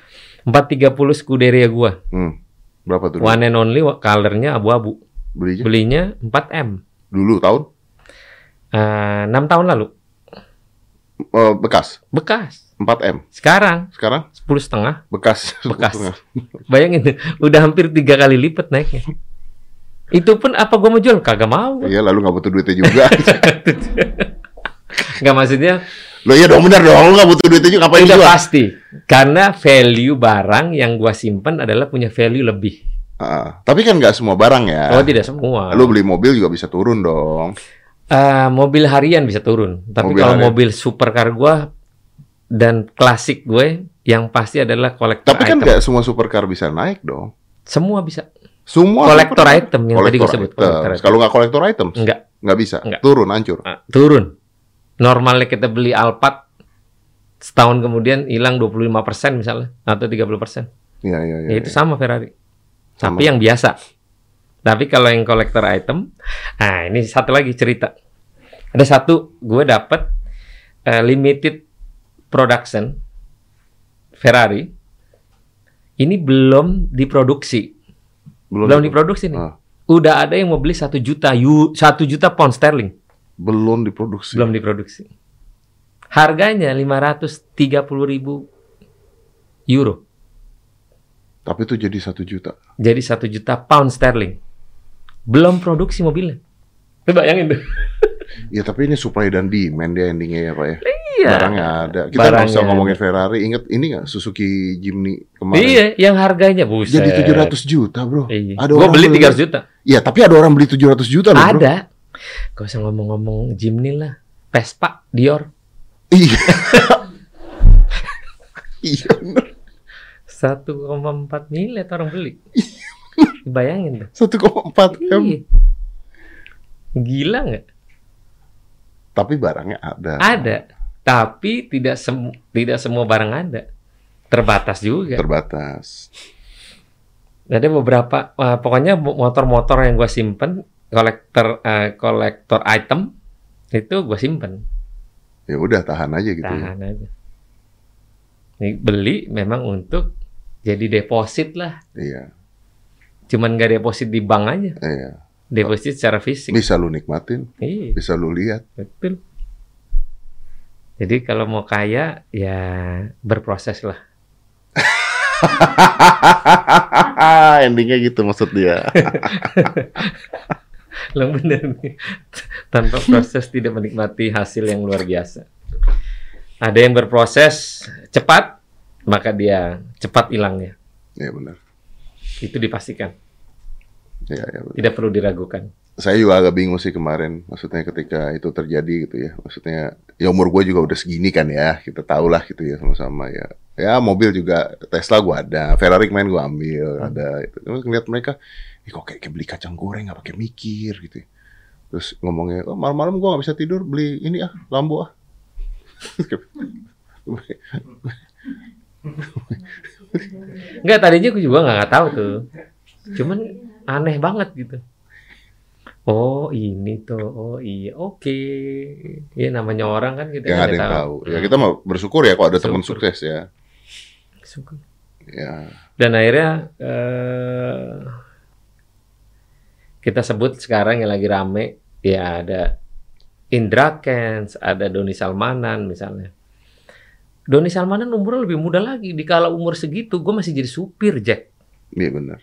430 Scuderia gua.
Hmm. Berapa tuh?
One and only wa- colornya abu-abu.
Belinya
Belinya 4M.
dulu tahun
Eh, 6 tahun lalu.
Eh, bekas
Bekas.
4M.
Sekarang
Sekarang
10 setengah.
bekas.
Bekas.
ya.
Bayangin, udah hampir tiga kali lipat naiknya. Itu pun apa gua mau jual? Kagak mau.
Iya lalu nggak butuh duitnya juga.
Nggak maksudnya,
Lo iya dong benar dong lu nggak butuh duitnya juga ngapain
udah
juga.
pasti. Karena value barang yang gua simpen adalah punya value lebih.
Ah, tapi kan nggak semua barang ya.
Oh tidak semua.
Lu beli mobil juga bisa turun dong.
Eh, mobil harian bisa turun, tapi
Mobil
kalau
harian.
mobil supercar gua dan klasik gue yang pasti adalah kolektor
Tapi kan
item.
nggak semua supercar bisa naik dong.
Semua bisa.
Semua
Kolektor
supercar-
item yang tadi
kolektor
gua sebut,
items.
kolektor item.
Kalau nggak kolektor item
Enggak,
nggak bisa.
Nggak.
Turun hancur.
ah, turun. Normalnya kita beli Alphard setahun kemudian hilang 25% misalnya atau 30%.
Iya iya iya.
Ya itu sama Ferrari.
Sama.
Tapi yang biasa. Tapi kalau yang kolektor item, nah ini satu lagi cerita. Ada satu gue dapet eh, limited production Ferrari. Ini belum diproduksi, belum, diproduksi nih.
Ah.
Udah ada yang mau beli satu juta u, satu juta pound sterling.
belum diproduksi.
belum diproduksi. Harganya 530.000 euro.
Tapi itu jadi satu juta.
Jadi 1 juta pound sterling. Belum produksi mobilnya. Lu bayangin tuh.
Ya tapi ini supply dan demand dia endingnya ya pak ya.
Iya.
Barangnya ada. Kita nggak
Barangnya
usah
ada.
ngomongin Ferrari. Ingat ini nggak Suzuki Jimny kemarin?
Iya, yang harganya buset.
Jadi 700 juta bro.
Iya.
Ada
Gua
orang
beli
beli-
300 juta.
Iya tapi ada orang beli 700 juta loh bro.
Ada. Gak usah ngomong-ngomong Jimny lah. Vespa, Dior.
Iya. Iya. bener.
1,4 miliar orang beli. Bayangin tuh.
1,4 m.
Iya. Gila nggak?
Tapi barangnya ada.
Ada, tapi tidak sem- tidak semua barang ada. Terbatas juga.
Terbatas.
Ada beberapa wah, pokoknya mo- motor-motor yang gua simpen, kolektor eh, kolektor item itu gua simpen.
Ya udah tahan aja gitu. ya.
Tahan aja. Ini beli memang untuk jadi deposit lah.
Iya.
Cuman gak deposit di bank aja,
Iya.
deposit secara fisik.
Bisa lu nikmatin,
Iya.
bisa lu lihat.
Betul. Jadi kalau mau kaya ya berproses lah.
Endingnya gitu maksud dia.
Lo bener nih. Tanpa proses tidak menikmati hasil yang luar biasa. Ada yang berproses cepat, maka dia cepat hilangnya.
Iya benar.
Itu dipastikan.
Iya, iya benar.
Tidak perlu diragukan.
Saya juga agak bingung sih kemarin, maksudnya ketika itu terjadi gitu ya. Maksudnya ya umur gue juga udah segini kan ya, kita tau lah gitu ya sama-sama ya. Ya mobil juga Tesla gue ada, Ferrari main gue ambil ada. Itu. Terus ngeliat mereka, ih kok kayak, kayak beli kacang goreng nggak pakai mikir gitu. ya. Terus ngomongnya, oh, malam-malam gue nggak bisa tidur beli ini ah Lambo ah.
Enggak, tadinya gue juga nggak nggak tahu tuh. Cuman aneh banget gitu. Oh ini tuh, oh iya, oke. Ya namanya orang kan kita
yang
nggak
ada yang tahu. Ya kita mau bersyukur ya kalau ada teman
Syukur.
sukses ya.
Syukur.
Ya
dan akhirnya eh, kita sebut sekarang yang lagi rame ya ada Indra Kents, ada Doni Salmanan misalnya. Doni Salmanan umurnya lebih muda lagi. Dikala umur segitu, gue masih jadi supir, Jack.
iya benar,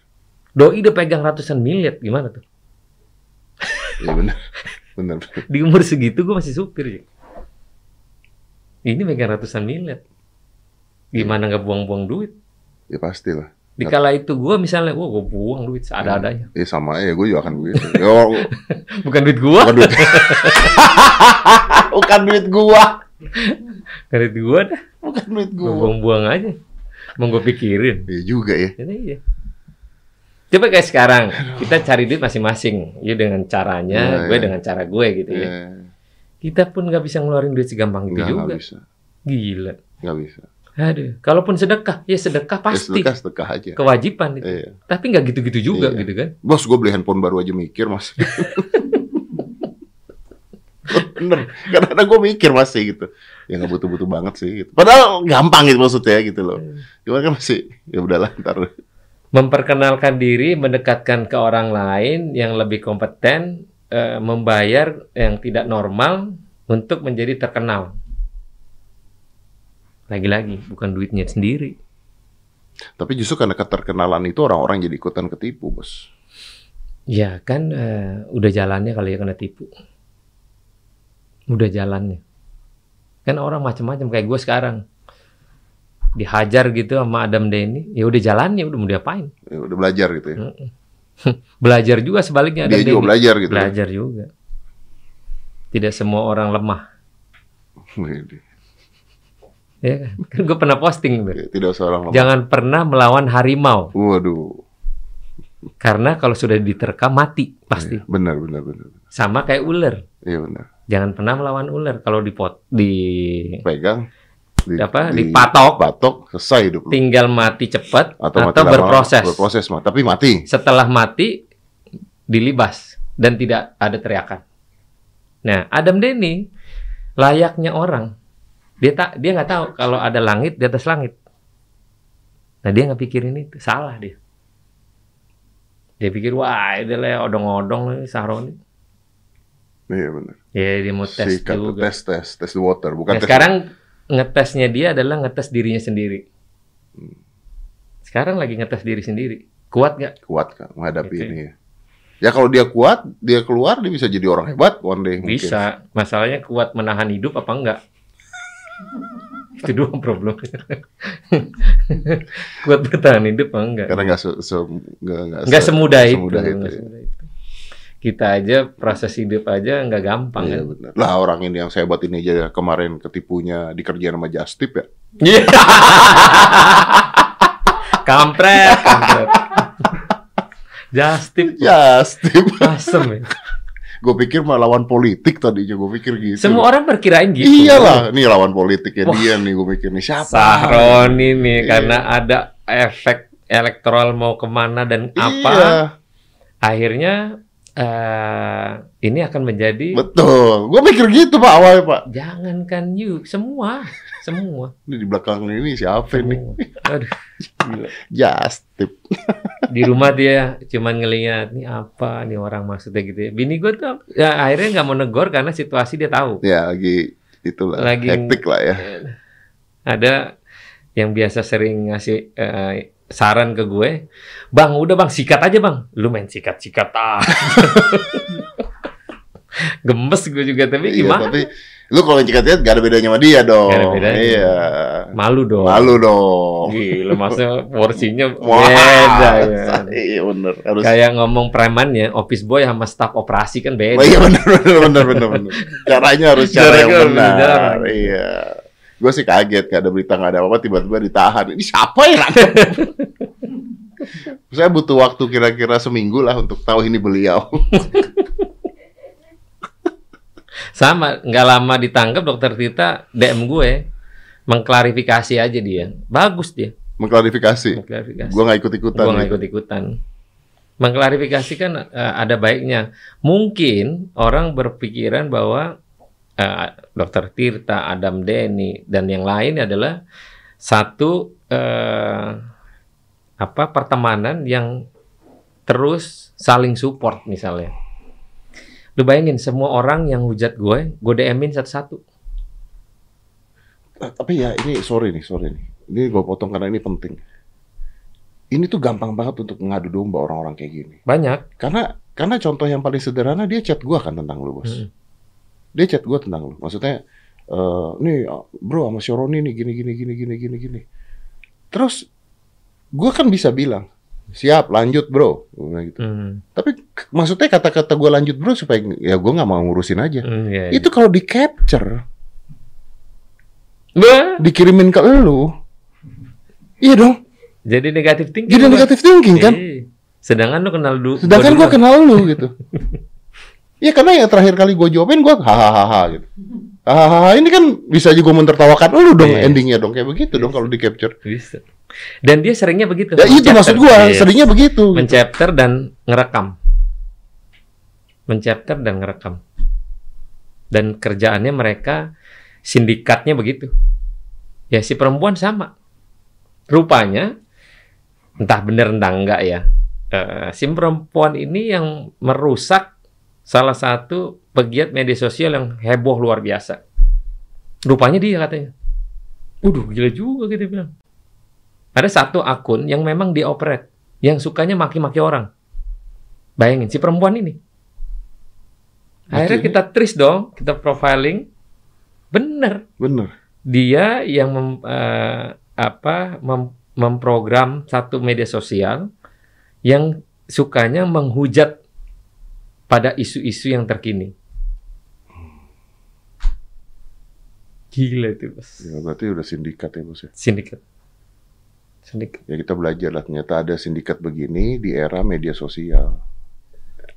Doi udah pegang ratusan miliar, gimana tuh?
iya benar, benar.
Di umur segitu gue masih supir, Jack. Ini pegang ratusan miliar. Gimana nggak buang-buang duit?
Ya pastilah.
Dikala itu gue misalnya, wah gue buang duit seada-adanya.
Iya sama ya, gue juga akan begitu. Yo,
Bukan duit gue.
Hmm. bukan duit. bukan duit gua,
Dari gua dah,
bukan duit
gua
gua.
buang-buang aja. Mau gua pikirin.
Iya juga ya.
Ini iya. Coba kayak sekarang, kita cari duit masing-masing. Ya dengan caranya,
Iya,
gue
iya.
dengan cara gue gitu ya.
Eh,
Kita pun nggak bisa ngeluarin duit segampang itu
Enggak, enggak
juga.
bisa,
Gila.
enggak bisa.
Aduh, kalaupun sedekah, ya sedekah
Ya,
pasti.
sedekah, sedekah aja.
Kewajiban itu.
Iya.
Tapi nggak gitu-gitu juga
Iya.
gitu kan.
Bos, gue beli handphone baru aja mikir mas. Bener, kadang-kadang gue mikir masih gitu. Ya nggak butuh-butuh banget sih. Gitu. Padahal gampang gitu maksudnya gitu loh.
Iya.
Cuman kan masih, ya udahlah ntar.
Memperkenalkan diri, mendekatkan ke orang lain yang lebih kompeten, eh, membayar yang tidak normal untuk menjadi terkenal. Lagi-lagi, bukan duitnya sendiri.
Tapi justru karena keterkenalan itu orang-orang jadi ikutan ketipu bos.
Ya kan eh, udah jalannya kali ya kena tipu. Udah jalannya. Kan orang macam-macam kayak gue sekarang. Dihajar gitu sama Adam Denny. Ya udah jalannya, udah mau diapain.
Ya, udah belajar gitu ya.
Belajar juga sebaliknya Adam
Dia juga
Denny.
belajar gitu. ya.
Iya, Belajar juga. Tidak semua orang lemah.
Wih,
Ya kan? Kan gue pernah posting tuh.
Ya, tidak seorang lemah.
Jangan pernah melawan harimau.
Waduh.
Karena kalau sudah diterkam, mati. Pasti.
Iya, Benar, benar, benar.
Sama kayak ular.
Iya benar.
Jangan pernah melawan ular. Kalau dipot, di
Pegang. Di,
apa dipatok
Patok, selesai hidup lu.
tinggal mati cepat atau,
mati lama-lama,
berproses.
Berproses, mah. Tapi mati.
setelah mati dilibas dan tidak ada teriakan nah Adam Denny layaknya orang dia tak dia nggak tahu kalau ada langit di atas langit nah dia nggak pikirin itu salah dia dia pikir wah ini lah odong-odong lah ini Sahroni
Iya benar.
Ya dia mau tes
Sikat,
juga.
tes tes tes the water,
Nah,
bukan tes.
sekarang ngetesnya dia adalah ngetes dirinya sendiri.
Hmm.
Sekarang lagi ngetes diri sendiri. Kuat nggak?
kuat kan menghadapi
Gitu.
ini ya. Ya kalau dia kuat, dia keluar dia bisa jadi orang hebat one day mungkin.
Bisa. Masalahnya kuat menahan hidup apa enggak? Itu doang problem. kuat bertahan hidup apa enggak?
Karena nggak se, se- nggak nggak
Nggak
se-
semudah,
semudah
itu.
itu
nggak
ya.
semudah itu. Kita aja proses hidup aja nggak gampang
Iya
kan?
benar. Lah orang ini yang saya hebat ini aja ya, kemarin ketipunya dikerjain sama Justip ya.
Iya. kampret, kampret. Just tip.
Justip.
Asem ya.
gue pikir mah lawan politik tadinya gue pikir gitu.
Semua orang berkirain gitu.
Iyalah, nih lawan politiknya
Wah.
dia nih gue mikir nih siapa?
Sahroni nih
Iya.
karena ada efek elektoral mau kemana dan
Iya,
apa, akhirnya eh, ini akan menjadi
betul. Gue mikir gitu pak awalnya pak.
jangankan you semua, semua.
Ini di belakang ini siapa nih?
semua. Aduh, gila.
Justip.
Di rumah dia cuman ngelihat nih apa nih orang maksudnya gitu ya. Bini gue tuh ya akhirnya nggak mau negor karena situasi dia tahu.
Ya lagi itulah
Lagi-
hektik lah ya.
ada yang biasa sering ngasih eh, saran ke gue, bang udah bang sikat aja bang, lu main sikat sikat ah. Gemes gue juga tapi
Iya,
gimana?
tapi lu kalau cikat-cikat gak ada bedanya sama dia dong.
Gak ada bedanya. Iya,
Iya.
Malu dong.
Malu dong.
Gila masa porsinya
Oh. Wah,
beda ya.
Iya bener. Harus.
Kayak ngomong preman ya, office boy sama staff operasi kan
Oh,
beda.
iya bener bener bener bener. bener. Caranya harus cara yang
Caranya harus
benar.
benar.
Iya. Gue sih kaget gak ada berita gak ada apa-apa tiba-tiba ditahan. Ini siapa yang nangkep? Saya butuh waktu kira-kira seminggu lah untuk tahu ini beliau.
Sama, nggak lama ditangkap dokter Tita DM gue mengklarifikasi aja dia. Bagus dia
Mengklarifikasi.
mengklarifikasi.
Gue gak ikut-ikutan.
Gua nggak
gitu.
ikut-ikutan. Mengklarifikasi kan eh, ada baiknya. Mungkin orang berpikiran bahwa eh, Dokter Tirta, Adam Denny, dan yang lain adalah satu eh, apa pertemanan yang terus saling support misalnya. Lu bayangin semua orang yang hujat gue, gue DM-in satu-satu.
Eh, tapi ya ini sorry nih sorry nih ini gue potong karena ini penting ini tuh gampang banget untuk mengadu domba orang-orang kayak gini
Banyak.
karena karena contoh yang paling sederhana dia chat gua kan tentang lu bos
Mm.
dia chat gua tentang lu maksudnya eh nih bro sama Syoroni nih gini gini gini gini gini gini terus gua kan bisa bilang siap lanjut bro Gua bilang gitu
Hmm,
tapi k- maksudnya kata-kata gua lanjut bro supaya ya gua nggak mau ngurusin aja
hmm, iya, iya.
itu kalau di capture
Bah,
dikirimin ke lu iya dong
Jadi negatif thinking.
Jadi
Bang.
negatif thinking kan?
Iya. Sedangkan lu kenal dulu.
Sedangkan gua kenal lu gitu. Iya karena yang terakhir kali gue jawabin gue hahaha gitu. Hahaha ini kan bisa aja gue mentertawakan lu dong
Iya.
endingnya dong kayak begitu dong kalau di capture.
Bisa. Dan dia seringnya begitu.
Ya itu
Menchapter.
maksud gue
Iya.
seringnya
gitu,
begitu.
Menchapter dan ngerekam. Menchapter dan ngerekam. Dan kerjaannya mereka sindikatnya begitu. Ya si perempuan sama. Rupanya entah bener entah enggak ya. eh, si perempuan ini yang merusak salah satu pegiat media sosial yang heboh luar biasa. Rupanya dia katanya. Waduh gila juga kita bilang. Ada satu akun yang memang dioperate, yang sukanya maki-maki orang. Bayangin si perempuan ini. Akhirnya
Betul.
kita trace dong, kita profiling. Bener,
Bener.
dia yang mem- eh, apa mem- memprogram satu media sosial yang sukanya menghujat pada isu-isu yang terkini. Gila itu, Bos
Ya, berarti udah sindikat ya bos ya.
sindikat sindikat
Ya kita belajar lah ternyata ada sindikat begini di era media sosial.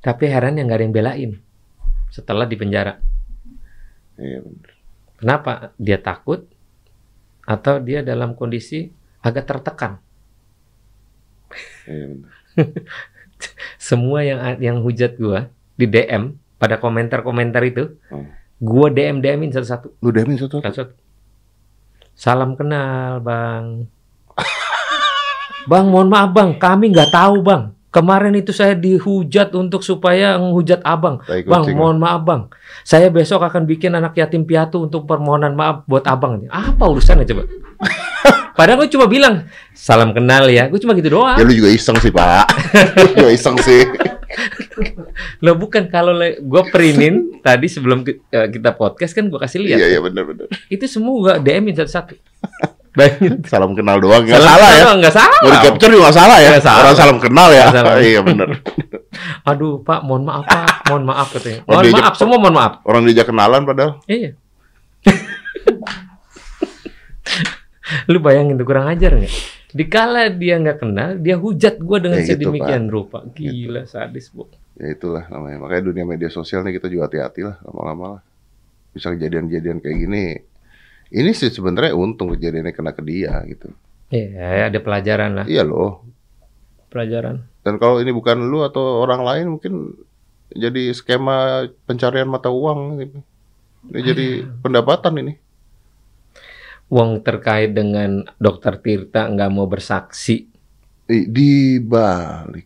tapi heran yang gak ada yang belain setelah di penjara
Iya bener.
kenapa dia takut atau dia dalam kondisi agak tertekan
Iya bener.
semua yang yang hujat gua di DM pada komentar-komentar itu
Hmm.
gua DM DMin satu-satu
Lu damin satu.
satu-satu salam kenal bang bang mohon maaf bang kami nggak tahu bang Kemarin itu saya dihujat untuk supaya menghujat abang.
Tai
Bang,
kucing.
mohon maaf bang. Saya besok akan bikin anak yatim piatu untuk permohonan maaf buat abang. Apa urusannya coba? Padahal gue cuma bilang, salam kenal ya. Gue cuma gitu doang.
Ya lu juga iseng sih pak Lu juga iseng sih
Lo bukan kalau le- gue prinin tadi sebelum ki- eh, kita podcast kan gue kasih lihat.
Iya iya bener bener
Itu semua gue DM-in satu-satu. Bayangin.
Salam kenal doang nggak
Salam
salah ya
kenal, Nggak salah.
Mau di capture juga nggak salah ya
Nggak salah.
Orang salam kenal ya
Nggak salah.
Iya bener
Aduh, Pak, mohon maaf, Pak. Mohon maaf katanya.
Oh,
Mohon
diajak-
maaf, semua mohon maaf.
Orang diajak kenalan padahal
Iya. Lu bayangin tuh kurang ajar nggak? Dikala dia nggak kenal, dia hujat gua dengan
Ya gitu,
sedemikian rupa. Gila, sadis, Bu.
Ya itulah namanya Makanya dunia media sosial nih kita juga hati-hati lah Lama-lama lah Bisa kejadian-kejadian kayak gini Ini sih sebenarnya untung kejadiannya kena ke dia gitu
Iya, ada pelajaran lah,
Iya loh
pelajaran.
Dan kalau ini bukan lu atau orang lain mungkin jadi skema pencarian mata uang gitu. Ini jadi pendapatan ini.
Wong terkait dengan dokter Tirta nggak mau bersaksi.
Di, di balik.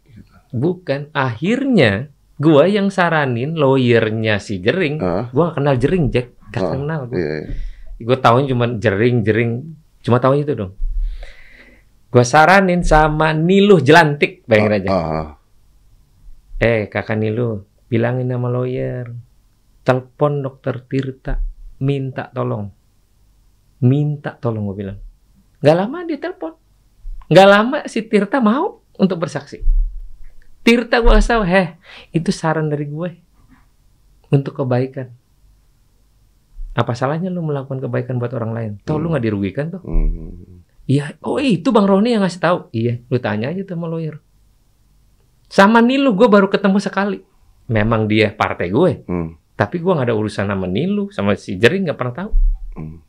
Bukan, akhirnya gua yang saranin lawyernya si Jering.
Ah,
Gua nggak kenal Jering, Jack. Gak
Ah,
kenal gua.
iya, iya.
gue tahunya cuma jering-jering cuma tahunya itu dong gue saranin sama Niluh Jelantik bayangin aja
Ah, ah.
eh kakak Niluh bilangin sama lawyer telepon dokter Tirta minta tolong minta tolong gue bilang nggak lama dia telepon nggak lama si Tirta mau untuk bersaksi Tirta gue kasih tahu heh itu saran dari gue untuk kebaikan apa salahnya lu melakukan kebaikan buat orang lain toh lu nggak dirugikan toh
Hmm.
Iya, oh itu Bang Roni yang ngasih tahu. Iya, lu tanya aja tuh sama lawyer. Sama Nilu, gue baru ketemu sekali. Memang dia partai gue,
Hmm.
tapi gue nggak ada urusan sama Nilu, sama si Jering nggak pernah tahu.
Hmm.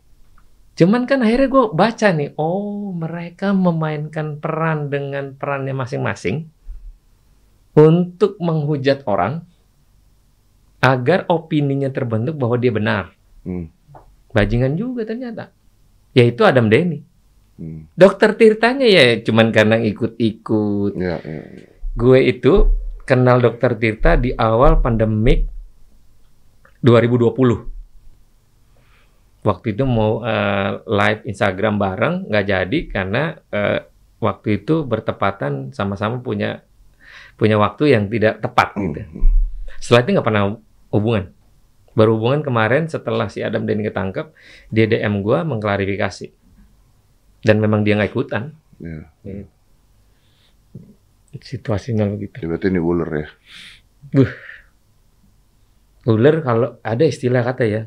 Cuman kan akhirnya gue baca nih, oh mereka memainkan peran dengan perannya masing-masing untuk menghujat orang agar opininya terbentuk bahwa dia benar.
Hmm.
Bajingan juga ternyata. Yaitu Adam Denny.
Hmm.
Dokter Tirtanya ya cuman karena ikut-ikut.
Ya, ya.
Gue itu kenal Dokter Tirta di awal pandemik 2020. Waktu itu mau eh, live Instagram bareng nggak jadi karena eh, waktu itu bertepatan sama-sama punya punya waktu yang tidak tepat gitu.
Hmm.
Setelah itu nggak pernah hubungan. Baru hubungan kemarin setelah si Adam Denny ketangkep, dia DM gua mengklarifikasi. Dan memang dia nggak ikutan.
Ya.
Gitu. Situasinya gitu. begitu.
Ya, Berarti ini ular ya.
Ular kalau ada istilah kata ya,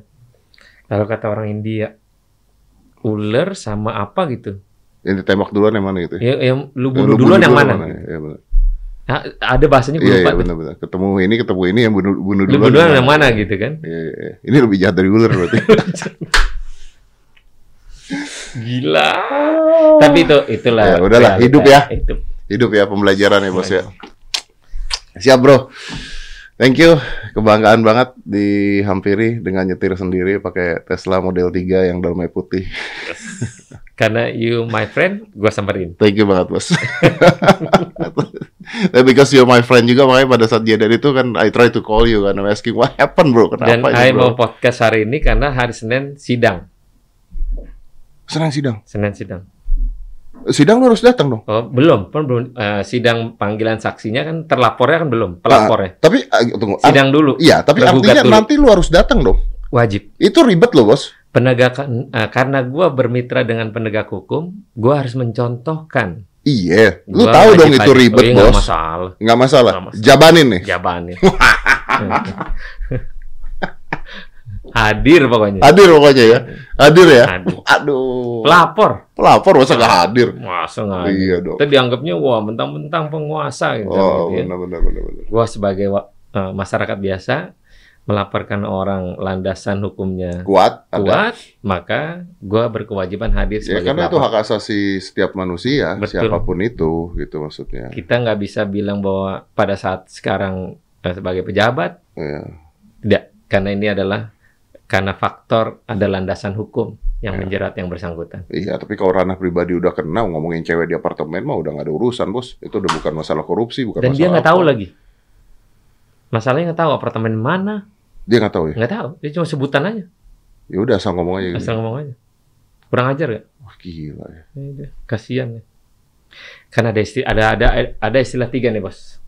kalau kata orang India, ular sama apa gitu?
Yang ditembak duluan yang mana gitu ya?
Ya, yang lu
Yang
bunuh
lu
duluan yang mana?
ya? Iya, benar.
Nah, ada bahasanya gue
Iya,
lupa.
iya,
tuh.
benar, benar. Ketemu ini, ketemu ini yang bunuh, bunuh
Lu
duluan.
duluan yang mana gitu kan?
Iya, iya, iya. Ini lebih jahat dari ular berarti.
Gila. Tapi itu itulah.
Oh. Ya, udahlah,
realita.
hidup ya.
Hidup.
Hidup ya pembelajaran ya bos ya. Siap bro. Thank you. Kebanggaan banget dihampiri dengan nyetir sendiri pakai Tesla Model 3 yang dalamnya putih.
Karena you my friend, gue samperin.
Thank you banget bos. Tapi because you're my friend juga makanya pada saat jadian itu kan I try to call you kan I'm asking what happened bro
Dan
kenapa
I
ini
mau
bro
podcast hari ini karena hari Senin sidang.
senang sidang
Senin sidang.
sidang lu harus datang dong
Oh, belum, pun belum eh, sidang panggilan saksinya kan terlapornya kan belum, pelapornya.
tapi ah, tunggu Ah,
Sidang dulu
iya tapi
Tergugat
artinya
dulu.
nanti lu harus datang dong
wajib.
itu ribet loh bos
Penegakan eh, karena gua bermitra dengan penegak hukum, gua harus mencontohkan.
iya lu
Gua
tahu
wajib
dong itu
hadir.
ribet
Oh, iya, nggak
bos
masalah.
nggak masalah
Nggak masalah.
jabanin nih
Jabaannya. hadir pokoknya.
Hadir pokoknya ya. Hadir ya.
Hadir.
Aduh.
Pelapor.
Pelapor masa nggak hadir?
Masa nggak hadir?
Iya dong.
Kita dianggapnya wah mentang-mentang penguasa gitu.
Oh,
gitu ya.
benar benar benar benar.
Gua sebagai wa- eh, masyarakat biasa melaporkan orang landasan hukumnya
Kuat ada.
kuat, maka gua berkewajiban hadir
Ya
sebagai
karena itu
pelapor.
hak asasi setiap manusia,
Betul.
siapapun itu gitu maksudnya.
Kita nggak bisa bilang bahwa pada saat sekarang eh, sebagai pejabat
Iya.
tidak, karena ini adalah karena faktor ada landasan hukum yang
Ya.
menjerat yang bersangkutan.
Iya, tapi kalau ranah pribadi udah kena ngomongin cewek di apartemen mah udah nggak ada urusan bos. Itu udah bukan masalah korupsi, bukan
Dan
masalah.
dia nggak
apa.
tahu lagi. Masalahnya nggak tahu apartemen mana,
Dia nggak tahu ya.
nggak tahu. Dia cuma sebutan aja,
Ya udah asal ngomong aja. Gitu.
asal ngomong aja. Kurang ajar nggak?
Wah gila ya.
Ya udah, Kasihan ya. Karena ada istilah, ada ada ada istilah tiga nih bos.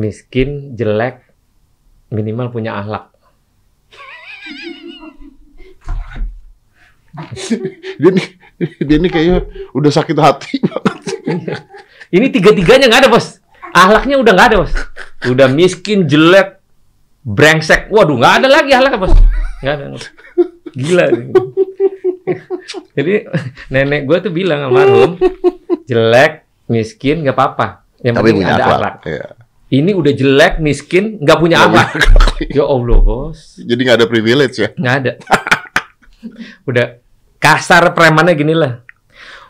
Miskin, jelek, minimal punya ahlak.
Dia nih, dia nih kayaknya udah sakit hati
Iya.
banget.
Ini tiga-tiganya nggak ada bos. Ahlaknya udah nggak ada bos. Udah miskin, jelek, brengsek. Waduh, nggak ada lagi ahlaknya bos. Nggak ada. Gila. Jadi nenek gue tuh bilang almarhum, jelek, miskin nggak apa-apa. Yang
Tapi
penting
punya
ada
akhlak.
ahlak.
Iya.
Ini udah jelek, miskin, nggak punya ahlak. Ya Allah bos,
Jadi nggak ada privilege ya.
nggak ada. Udah kasar premannya gini lah.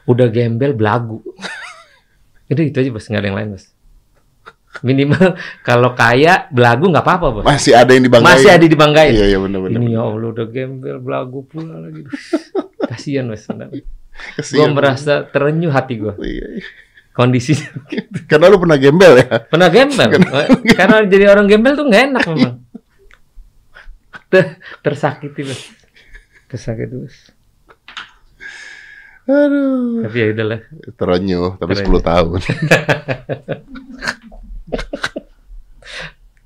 Udah gembel belagu. Itu itu aja bos, nggak ada yang lain bos. Minimal kalau kaya belagu nggak apa-apa bos.
Masih ada yang dibanggain.
Masih ada dibanggain.
Iya iya benar-benar.
Ini ya Allah udah gembel belagu pula lagi. Kasihan bos. Gue
Kesian.
merasa terenyuh hati gue.
Iya, iya.
Kondisinya
Karena lu pernah gembel ya.
Pernah gembel. Oh, Karena jadi orang gembel tuh nggak enak memang. Ter- tersakiti bos. Tersakiti bos.
Aduh.
Tapi ya udahlah.
Terenyuh, tapi
Terenyuh.
10 tahun.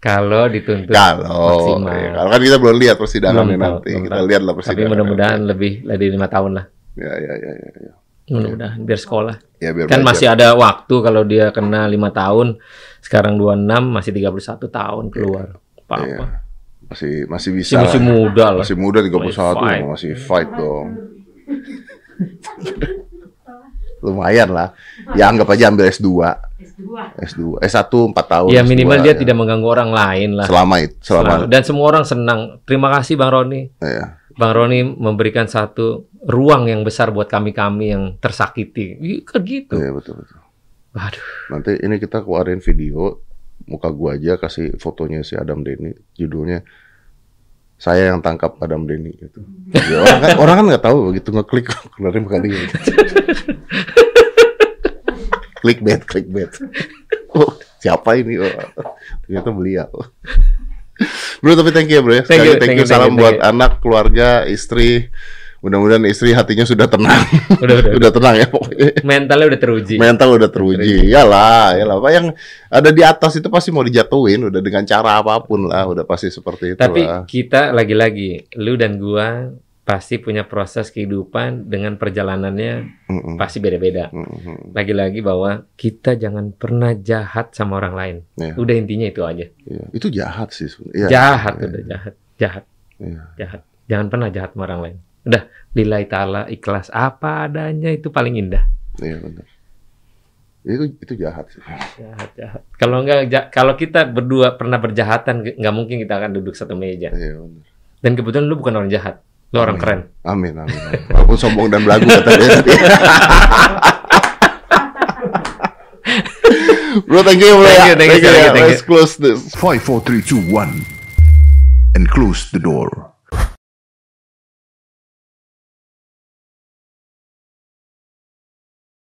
Kalau dituntut.
Kalau,
Maksimal.
ya, kalau kan kita belum lihat persidangannya
Belum tahu,
nanti.
belum
Kita
tahu.
lihatlah
Tapi
persidangan.
mudah-mudahan lebih dari lima tahun lah.
Ya ya ya ya. ya.
Mudah-mudahan biar sekolah.
Ya, biar
Kan
belajar.
masih ada waktu kalau dia kena lima tahun. Sekarang 26 masih 31 tahun keluar. Apa-apa.
masih masih bisa.
Masih, masih
lah.
muda lah.
Iya. Masih muda 31 masih
Masih
fight,
fight.
masih fight dong. Lumayan lah. Ya anggap aja ambil S2. S2. S1 4 tahun.
Ya
S2,
minimal dia
ya.
tidak mengganggu orang lain lah.
selama itu, selama.
Dan semua orang senang. Terima kasih Bang Roni.
Ya.
Bang Roni memberikan satu ruang yang besar buat kami-kami yang tersakiti. Ih, Kan gitu.
Iya, betul betul.
Waduh.
Nanti ini kita keluarin video muka gua aja kasih fotonya si Adam Denny judulnya saya yang tangkap Adam Denny gitu.
Hmm.
Ya, orang kan orang kan nggak tahu begitu ngeklik keluarin muka dia. clickbait, clickbait. Oh, siapa ini? Oh, ternyata beliau. Bro, tapi thank you ya, bro ya. Sekali
Thank you,
thank
thank
you,
you,
salam
thank you,
buat
thank
anak, keluarga, istri. Mudah-mudahan istri hatinya sudah tenang.
Udah, udah,
udah tenang ya pokoknya
Mentalnya udah teruji.
mental udah teruji iyalah iyalah apa yang ada di atas itu pasti mau dijatuhin udah dengan cara apapun lah udah pasti seperti itu
Tapi
lah
kita lagi-lagi, lu dan gua pasti punya proses kehidupan dengan perjalanannya
Mm-mm.
pasti beda-beda.
Mm-mm.
Lagi-lagi bahwa kita jangan pernah jahat sama orang lain.
Iya.
Udah intinya itu aja.
Iya. itu jahat sih sebenarnya. Iya.
jahat udah jahat, jahat,
Iya.
jahat. Jangan pernah jahat sama orang lain. Udah, lillahi ta'ala ikhlas apa adanya itu paling indah.
iya benar itu itu jahat sih
jahat jahat kalau nggak ja- kalau kita berdua pernah berjahatan nggak- nggak mungkin kita akan duduk satu meja
iya benar
dan kebetulan lu bukan orang jahat lu orang keren
amin amin, amin. walaupun sombong dan belagu kata dia tadi. bro thank you bro
Thank
ya.
you, thank you, thank you,
ya.
thank you.
let's close this
5, 4, 3, 2, 1. And close the door.